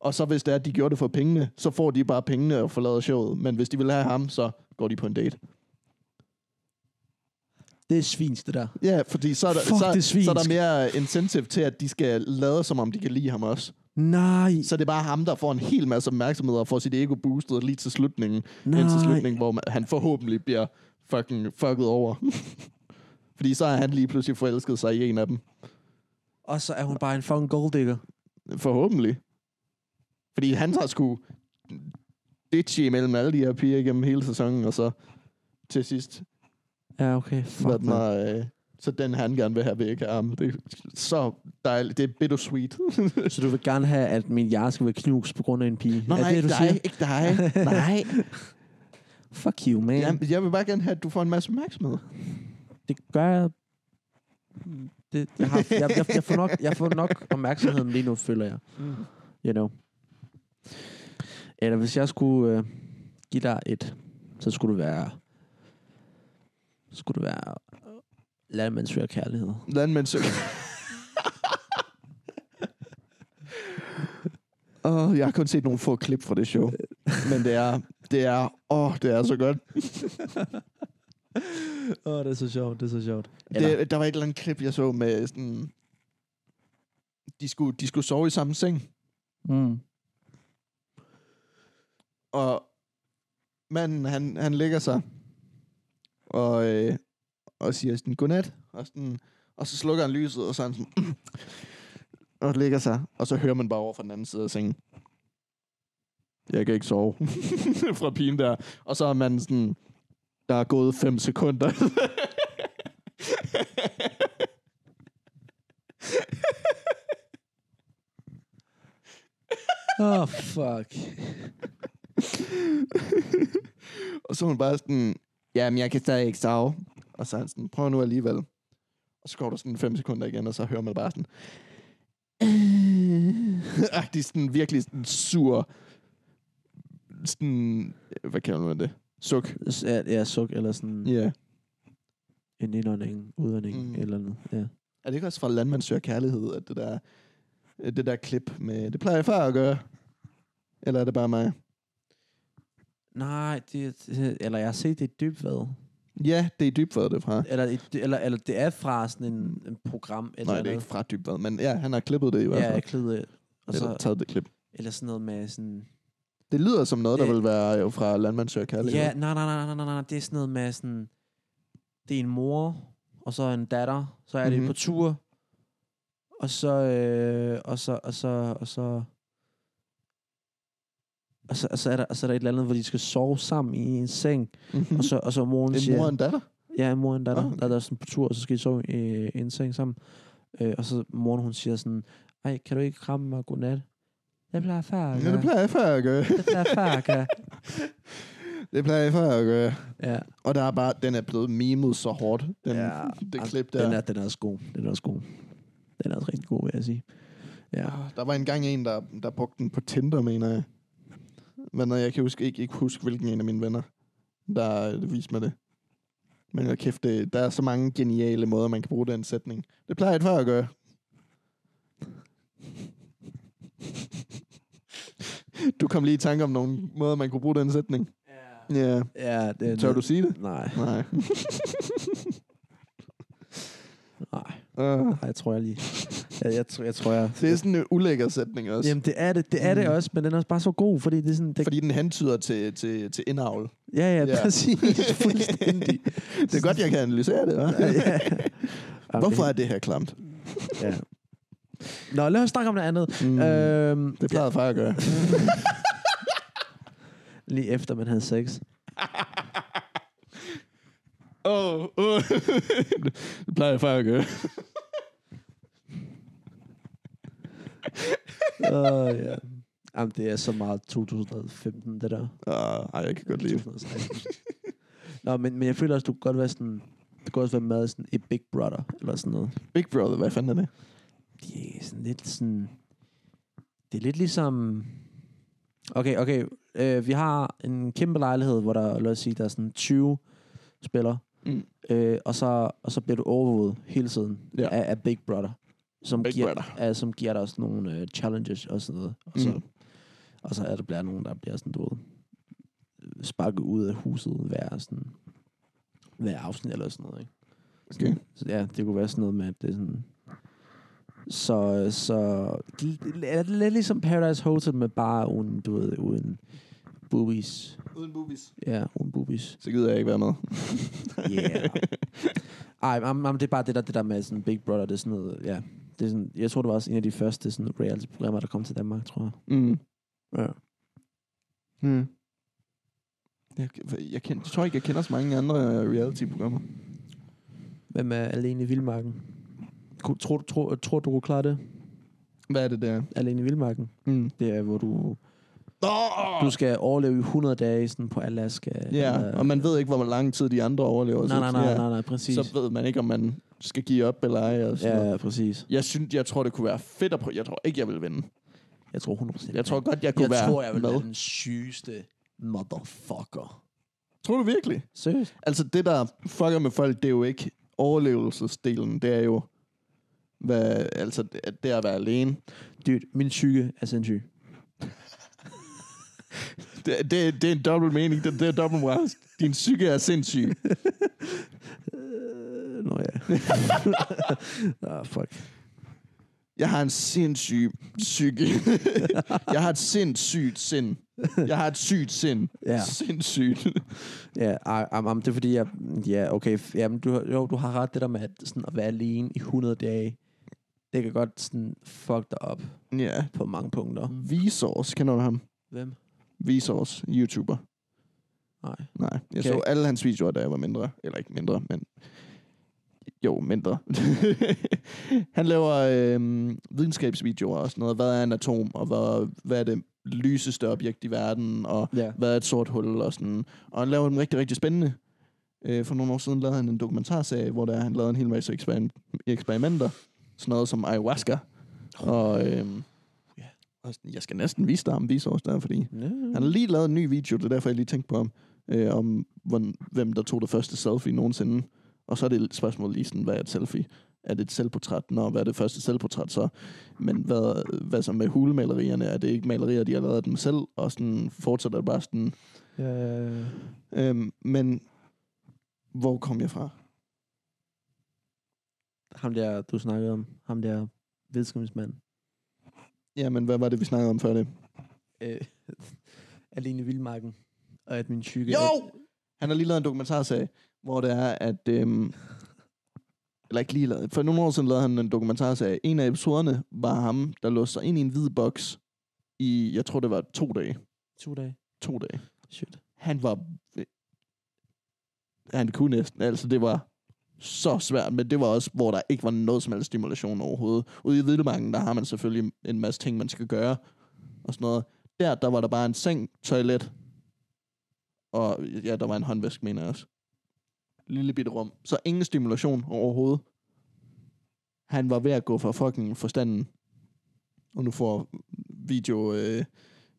C: Og så hvis det er, at de gjorde det for pengene, så får de bare pengene og forlader showet. Men hvis de vil have ham, så går de på en date.
B: Det er svins, det der.
C: Ja, fordi så er, der,
B: Fuck, det er
C: så,
B: svinsk.
C: så er der mere incentive til, at de skal lade, som om de kan lide ham også.
B: Nej,
C: Så det er bare ham, der får en hel masse opmærksomhed og får sit ego boostet lige til slutningen. Nej. Indtil
B: nej.
C: slutningen, hvor man, han forhåbentlig bliver fucking fucket over. Fordi så har han lige pludselig forelsket sig i en af dem.
B: Og så er hun bare en fucking golddigger.
C: Forhåbentlig. Fordi han har sgu ditche imellem alle de her piger igennem hele sæsonen, og så til sidst,
B: Ja, okay. Fuck,
C: hvad
B: man.
C: den er, øh, så den han gerne vil have væk af ham. Det er så dejligt. Det er bittersweet.
B: Så du vil gerne have, at min hjerne skal være knust på grund af en pige?
C: Nå,
B: er
C: nej,
B: det,
C: ikke
B: du
C: dig,
B: siger?
C: ikke dig. nej.
B: Fuck you, man.
C: Jeg, jeg vil bare gerne have, at du får en masse opmærksomhed.
B: Det gør jeg... Det, jeg, har, jeg, jeg, jeg, får nok, jeg får nok opmærksomheden lige nu, føler jeg. You know. Eller hvis jeg skulle øh, give dig et, så skulle det være... så Skulle det være... Lad søger kærlighed.
C: Landmænd søger. Åh, jeg har kun set nogle få klip fra det show. Men det er, det er, åh, det er så godt.
B: Åh, oh, det er så sjovt, det er så sjovt. Eller, det...
C: Det, der var et eller andet klip, jeg så med sådan... De skulle, de skulle sove i samme seng,
B: mm.
C: og manden, han, han lægger sig og, øh, og siger sådan, godnat, og, sådan, og så slukker han lyset, og så er han sådan, og lægger sig, og så hører man bare over fra den anden side af sengen. Jeg kan ikke sove. fra pigen der. Og så er man sådan, der er gået 5 sekunder.
B: oh, fuck.
C: og så er hun bare sådan, jamen jeg kan stadig ikke sove. Og så er han sådan, prøv nu alligevel. Og så går der sådan 5 sekunder igen, og så hører man bare sådan, agtig sådan virkelig sådan sur, sådan, hvad kalder man det? Suk.
B: S- Ja, ja, suk eller sådan
C: Ja.
B: yeah.
C: Yeah.
B: en indånding, udånding
C: Mm.
B: mm. eller noget. Ja.
C: Er det ikke også fra Landmand Søger Kærlighed, at det der, øh, det der klip med, det plejer jeg før at gøre? Eller er det bare mig?
B: Nej, det, det- eller jeg har set det i dybvad.
C: Ja, det er dybvad, det er fra.
B: Eller, i- det- eller, eller det er fra sådan en, en program. Eller
C: Nej, det er ikke fra dybvad, men ja, han har klippet det i hvert
B: Ja,
C: fald.
B: jeg klæder. Og
C: Eller
B: så,
C: taget det klip.
B: eller sådan noget med sådan...
C: Det lyder som noget, der
B: Øh,
C: vil være jo fra Landmand Søger Kærlighed.
B: Ja, nej, nej, nej, nej, nej, nej, det er sådan noget med sådan... Det er en mor, og så en datter, så er det
C: Mhm.
B: på tur, og så, øh, og så, og så, og så, og så, og så, er der, og så er der et eller andet, hvor de skal sove sammen i en seng,
C: Mm-hmm.
B: og så, og så moren
C: En
B: siger...
C: mor og en datter?
B: Ja, mor og en datter,
C: Ah,
B: okay. der er der sådan på tur, og så skal de sove i øh, en seng sammen. Øh, og så moren, hun siger sådan, ej, kan du ikke kramme mig godnat? Det plejer far at
C: Ja, det
B: gøre.
C: plejer jeg før at gøre.
B: Det plejer far at gøre.
C: Det plejer jeg før at gøre.
B: Ja,
C: Og der er bare, den er blevet mimet så hårdt, den,
B: Ja,
C: ja, det
B: ah,
C: klip der.
B: den er, den er også god. Den er også god. Den er også rigtig god, vil jeg sige. Ja.
C: Ah, Der var engang en, der, der brugte den på Tinder, mener jeg. Men øh, jeg kan huske, ikke, ikke huske, hvilken en af mine venner, der øh, viste mig det. Men jeg kæft, det, der er så mange geniale måder, man kan bruge den sætning. Det plejer jeg før at gøre. Du kom lige i tanke om nogle måder, man kunne bruge den sætning. Ja. Yeah.
B: Ja,
C: Yeah.
B: den,
C: Tør du sige det?
B: Nej,
C: Nej.
B: nej,
C: Uh,
B: nej, jeg tror jeg lige. Jeg, jeg, tror, jeg tror jeg.
C: det er sådan en ulækker sætning også.
B: Jamen, det er det, det er det
C: Mm.
B: også, men den er også bare så god, fordi det er sådan... Det,
C: Fordi den hentyder til, til, til indavl.
B: ja, ja,
C: Ja.
B: præcis. Fuldstændig.
C: Det er godt, jeg kan analysere det, hva'?
B: ja. Jamen,
C: Hvorfor er det her klamt?
B: Ja. Nå, lad os snakke om noget andet.
C: Mm.
B: Mm. Øhm,
C: Det plejede far at gøre.
B: lige efter man havde sex.
C: Åh, oh, oh. det plejede far at gøre.
B: Åh, oh, ja. Jamen, det er så meget 2015, det der.
C: Uh, ej, jeg kan godt lide det.
B: 2016. Nå, men, men jeg føler også, du kan godt være sådan... Du kan også være med i sådan et Big Brother, eller sådan noget.
C: Big Brother, hvad fanden er det?
B: Det er sådan lidt sådan... Det er lidt ligesom... Okay, okay. Øh, vi har en kæmpe lejlighed, hvor der, lad os sige, der er sådan 20 spillere.
C: Mm.
B: Øh, og, så, og så bliver du overvåget hele tiden
C: Ja.
B: ja. af, af Big Brother. Som
C: Big
B: giver,
C: Brother.
B: Er, som giver dig også nogle øh, challenges og sådan noget. Og, så,
C: Mm.
B: og så er der bliver nogen, der bliver sådan, du ved, øh, sparket ud af huset hver, sådan, hver afsnit eller sådan noget. Ikke?
C: Okay.
B: Så ja, det kunne være sådan noget med, at det er sådan... Så, så er det lidt ligesom Paradise Hotel med bare uden, du ved, uden boobies.
C: Uden boobies.
B: Ja, uden boobies.
C: Så gider jeg ikke være med.
B: Yeah. Ej, am, am, det er bare det der, det der med sådan Big Brother, det er sådan noget, ja. Det er sådan, jeg tror, det var også en af de første sådan, reality-programmer, der kom til Danmark, tror jeg.
C: Mm.
B: Ja.
C: Mm. Jeg, jeg, kender, jeg tror ikke, jeg kender så mange andre øh, reality-programmer.
B: Hvem er alene i Vildmarken? Ku- Tror, du- tror, tror du, du kunne klare det?
C: Hvad er det der?
B: Alene i Vildmarken?
C: Mm.
B: Det er, hvor du,
C: Oh!
B: du skal overleve i 100 dage sådan på Alaska.
C: Ja, og man ved ikke, hvor lang tid de andre overlever.
B: Nej,
C: så-
B: nej, nej,
C: ja.
B: nej, nej, præcis.
C: Så ved man ikke, om man skal give op eller ej. Og sådan ja.
B: ja,
C: noget.
B: ja, præcis.
C: Jeg, synes, jeg tror, det kunne være fedt at prøve. Jeg tror ikke, jeg vil vinde.
B: Jeg tror 100%.
C: Jeg tror godt, jeg kunne være med.
B: den sygeste motherfucker.
C: Tror du virkelig?
B: Seriøst?
C: Altså, det, der fucker med folk, det er jo ikke overlevelsesdelen. Det er jo, hvad, altså, det at- det at være alene.
B: Dude, min psyke er sindssyg.
C: Det, det, det er en dobbelt mening. Det, det er dobbelt moralsk. Din psyke er sindssyg.
B: Øh, Nå ja. ah, fuck.
C: Jeg har en sindssyg psyke. jeg har et sindssygt sind. Jeg har et sygt sind.
B: Ja.
C: Sindssygt.
B: Ja, ah, ej, am, am, det er fordi, jeg... Ja, okay. f- Jamen, du, har- jo, du har ret det der med at, sådan, at være alene i 100 dage. Det kan godt sådan, fuck dig op
C: ja.
B: på mange punkter.
C: Vsauce, kender du ham?
B: Hvem?
C: Vsauce, YouTuber.
B: Nej.
C: Nej, jeg okay.
B: Okay.
C: så alle hans videoer, da jeg var mindre. Eller ikke mindre, men... Jo, mindre. han laver øh, videnskabsvideoer og sådan noget. Hvad er en atom, og hvad, hvad er det lyseste objekt i verden, og
B: Ja.
C: hvad er et sort hul, og sådan. Og han laver dem rigtig, rigtig spændende. Øh, for nogle år siden lavede han en dokumentarserie, hvor der, han lavede en hel masse eksperim- eksperimenter. Sådan noget som ayahuasca. Og, øh,
B: Oh. Ja.
C: og sådan, jeg skal næsten vise dig om vise os der, fordi
B: ja.
C: han har lige lavet en ny video, det er derfor, jeg lige tænkte på ham, øh, om hvordan, hvem der tog det første selfie nogensinde. Og så er det et spørgsmål lige sådan, hvad er et selfie? Er det et selvportræt? Nå, hvad er det første selvportræt så? Men hvad, hvad så med hulemalerierne? Er det ikke malerier, de har lavet af dem selv? Og sådan fortsætter det bare sådan.
B: Øh,
C: Øhm, men hvor kom jeg fra?
B: ham der, du snakkede om. Ham der videnskabsmand.
C: Jamen, hvad var det, vi snakkede om før det?
B: Øh, alene i Vildmarken. Og at min psyke...
C: Jo! Han har lige lavet en dokumentarserie, hvor det er, at... Øhm, eller ikke lige lavet. For nogle år siden lavede han en dokumentarserie. En af episoderne var ham, der låste sig ind i en hvid boks i, jeg tror det var to dage.
B: To dage.
C: To dage.
B: Shit.
C: Han var... Han kunne næsten. Altså, det var så svært, men det var også, hvor der ikke var noget som helst stimulation overhovedet. Ude i Hvidemarken, der har man selvfølgelig en masse ting, man skal gøre, og sådan noget. Der, der var der bare en seng, toilet, og ja, der var en håndvask, mener jeg også. Lille bitte rum. Så ingen stimulation overhovedet. Han var ved at gå for fucking forstanden. Og nu får video øh,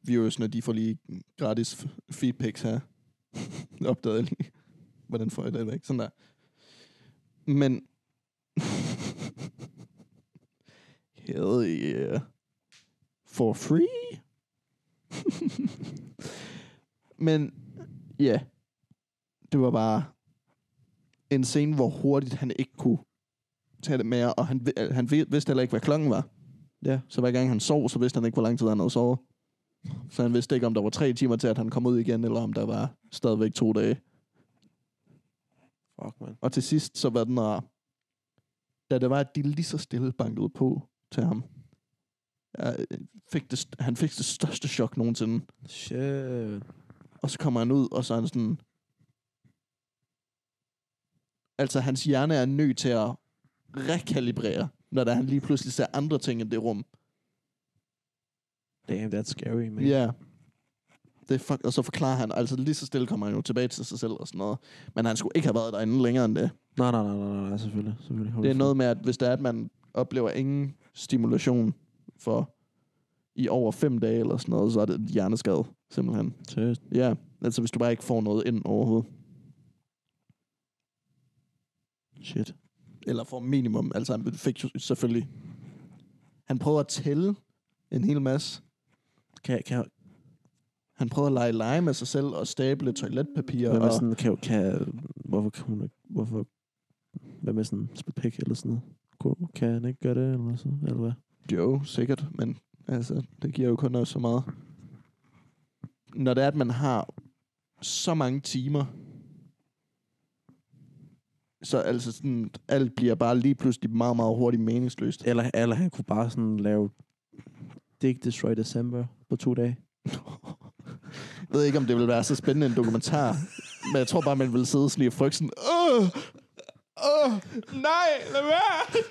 C: viewersne, de får lige gratis f- feed pics her. Opdagede jeg lige. Hvordan får jeg det væk? Sådan der. Men... Hell yeah. For free? Men ja, yeah. det var bare en scene, hvor hurtigt han ikke kunne tage det med, og han, vi- han vi- vidste heller ikke, hvad klokken var.
B: Ja.
C: Så hver gang han sov, så vidste han ikke, hvor lang tid han havde sovet. Så han vidste ikke, om der var tre timer til, at han kom ud igen, eller om der var stadigvæk to dage.
B: Fuck, man.
C: Og til sidst, så var den rar. Da det var, at de lige så stille bankede på til ham, jeg fik det, st- han fik det største chok nogensinde.
B: Shit.
C: Og så kommer han ud, og så er han sådan... Altså, hans hjerne er nødt til at rekalibrere, når der han lige pludselig ser andre ting i det rum.
B: Damn, that's scary, man.
C: Ja. Yeah. Det er fuck, og så forklarer han, altså lige så stille kommer han jo tilbage til sig selv og sådan noget. Men han skulle ikke have været derinde længere end det.
B: Nej, nej, nej, nej, nej, selvfølgelig. selvfølgelig. Hold
C: Det er
B: da
C: noget med, at hvis der er, at man oplever ingen stimulation for i over fem dage eller sådan noget, så er det et hjerneskade, simpelthen.
B: fast. Seriøst.
C: Ja, altså hvis du bare ikke får noget ind overhovedet.
B: Shit.
C: Eller får minimum. Altså han fik jo selvfølgelig... Han prøvede at tælle en hel masse.
B: Kan, kan,
C: Han prøvede at lege lege med sig selv og stable toiletpapir.
B: Hvad
C: Og,
B: med sådan, kan, kan, hvorfor kan hun ikke, hvorfor, hvad med sådan, spille pik eller sådan noget? Kunne- Kan han ikke gøre det, eller så, eller hvad?
C: Jo, sikkert, men altså, det giver jo kun også så meget. Når det er, at man har så mange timer Så altså sådan, alt bliver bare lige pludselig meget, meget hurtigt meningsløst.
B: Eller, eller han kunne bare sådan lave Dick Destroy December på to dage.
C: Jeg ved ikke, om det ville være så spændende en dokumentar, men jeg tror bare, man ville sidde sådan lige og frygte sådan, Åh! Åh! Nej! Lad være!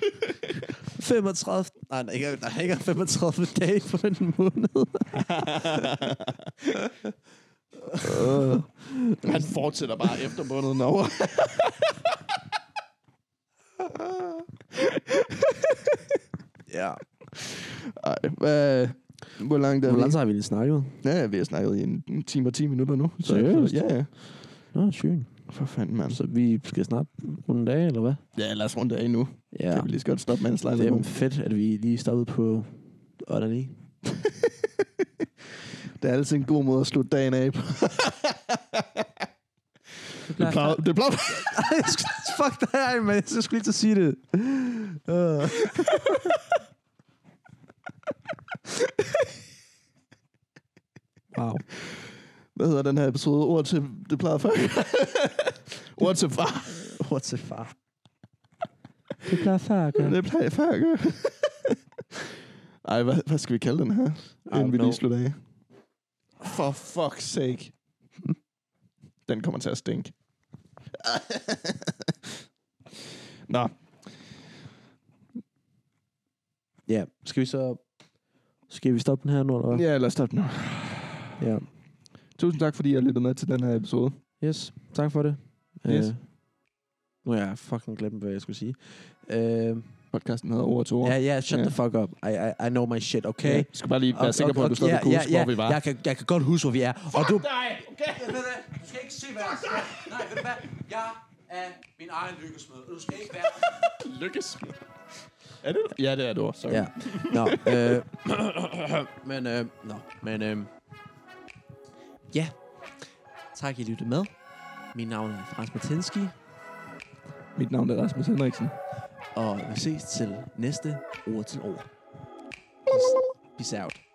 B: 35... Nej, der er ikke, der er ikke 35 dage på den måned.
C: Han fortsætter bare efter måneden over.
B: ja.
C: Ej, hvad... Hvor langt er
B: Hvor
C: vi?
B: langt har vi lige snakket?
C: Ja, vi har snakket i en en time og 10 minutter nu.
B: Seriøst?
C: Ja, ja.
B: Nå, sygt.
C: For fanden, mand.
B: Så vi skal snart runde af, eller hvad?
C: Ja, lad os runde af nu. Ja.
B: Ja. Altså,
C: Kan vi lige så godt stoppe med en slejle
B: Det er
C: nu.
B: jo fedt, at vi lige stoppede på Otterly.
C: Det er altid en god måde at slutte dagen af på. Det plejer... Det plejer...
B: Fuck dig, man. Jeg skulle lige til at sige det. Uh. wow.
C: Hvad hedder den her episode? Ord til... Det plejer før. Ord til far.
B: What the far? Det plejer far at gøre.
C: Det plejer far at gøre. Ej, hvad, hvad skal vi kalde den her? Inden vi
B: know.
C: lige slutter af. For fuck's sake. Den kommer til at stinke. Nå,
B: Ja, skal vi så... Skal vi stoppe den her nu, eller hvad?
C: ja, lad os stoppe nu.
B: Ja.
C: Tusind tak, fordi jeg lyttede med til den her episode.
B: Yes, tak for det.
C: Yes.
B: Øh, nu har jeg fucking glemt, hvad jeg skulle sige. Øh,
C: Podcasten hedder Ord til Ord.
B: ja, ja, shut
C: Ja.
B: the fuck up. I, I, I know my shit, okay?
C: Ja, jeg skal bare lige være sikker på, at du stadig kunne huske, hvor vi var.
B: Jeg kan, jeg kan godt huske, hvor vi er. og du...
E: dig, okay? Ved du hvad? Du skal ikke se, hvad jeg siger. Nej, ved du hvad? Jeg er min egen lykkesmed, og du skal ikke være...
C: Lykkes. Er det? Ja, det er du. Sorry.
B: Ja. Nå, øh, men, øh, nå, men, øh, ja. Tak, I lyttede med. Mit navn er Frans Martinski,
C: Mit navn er Rasmus Henriksen.
B: og vi ses til næste ord til ord. Peace out.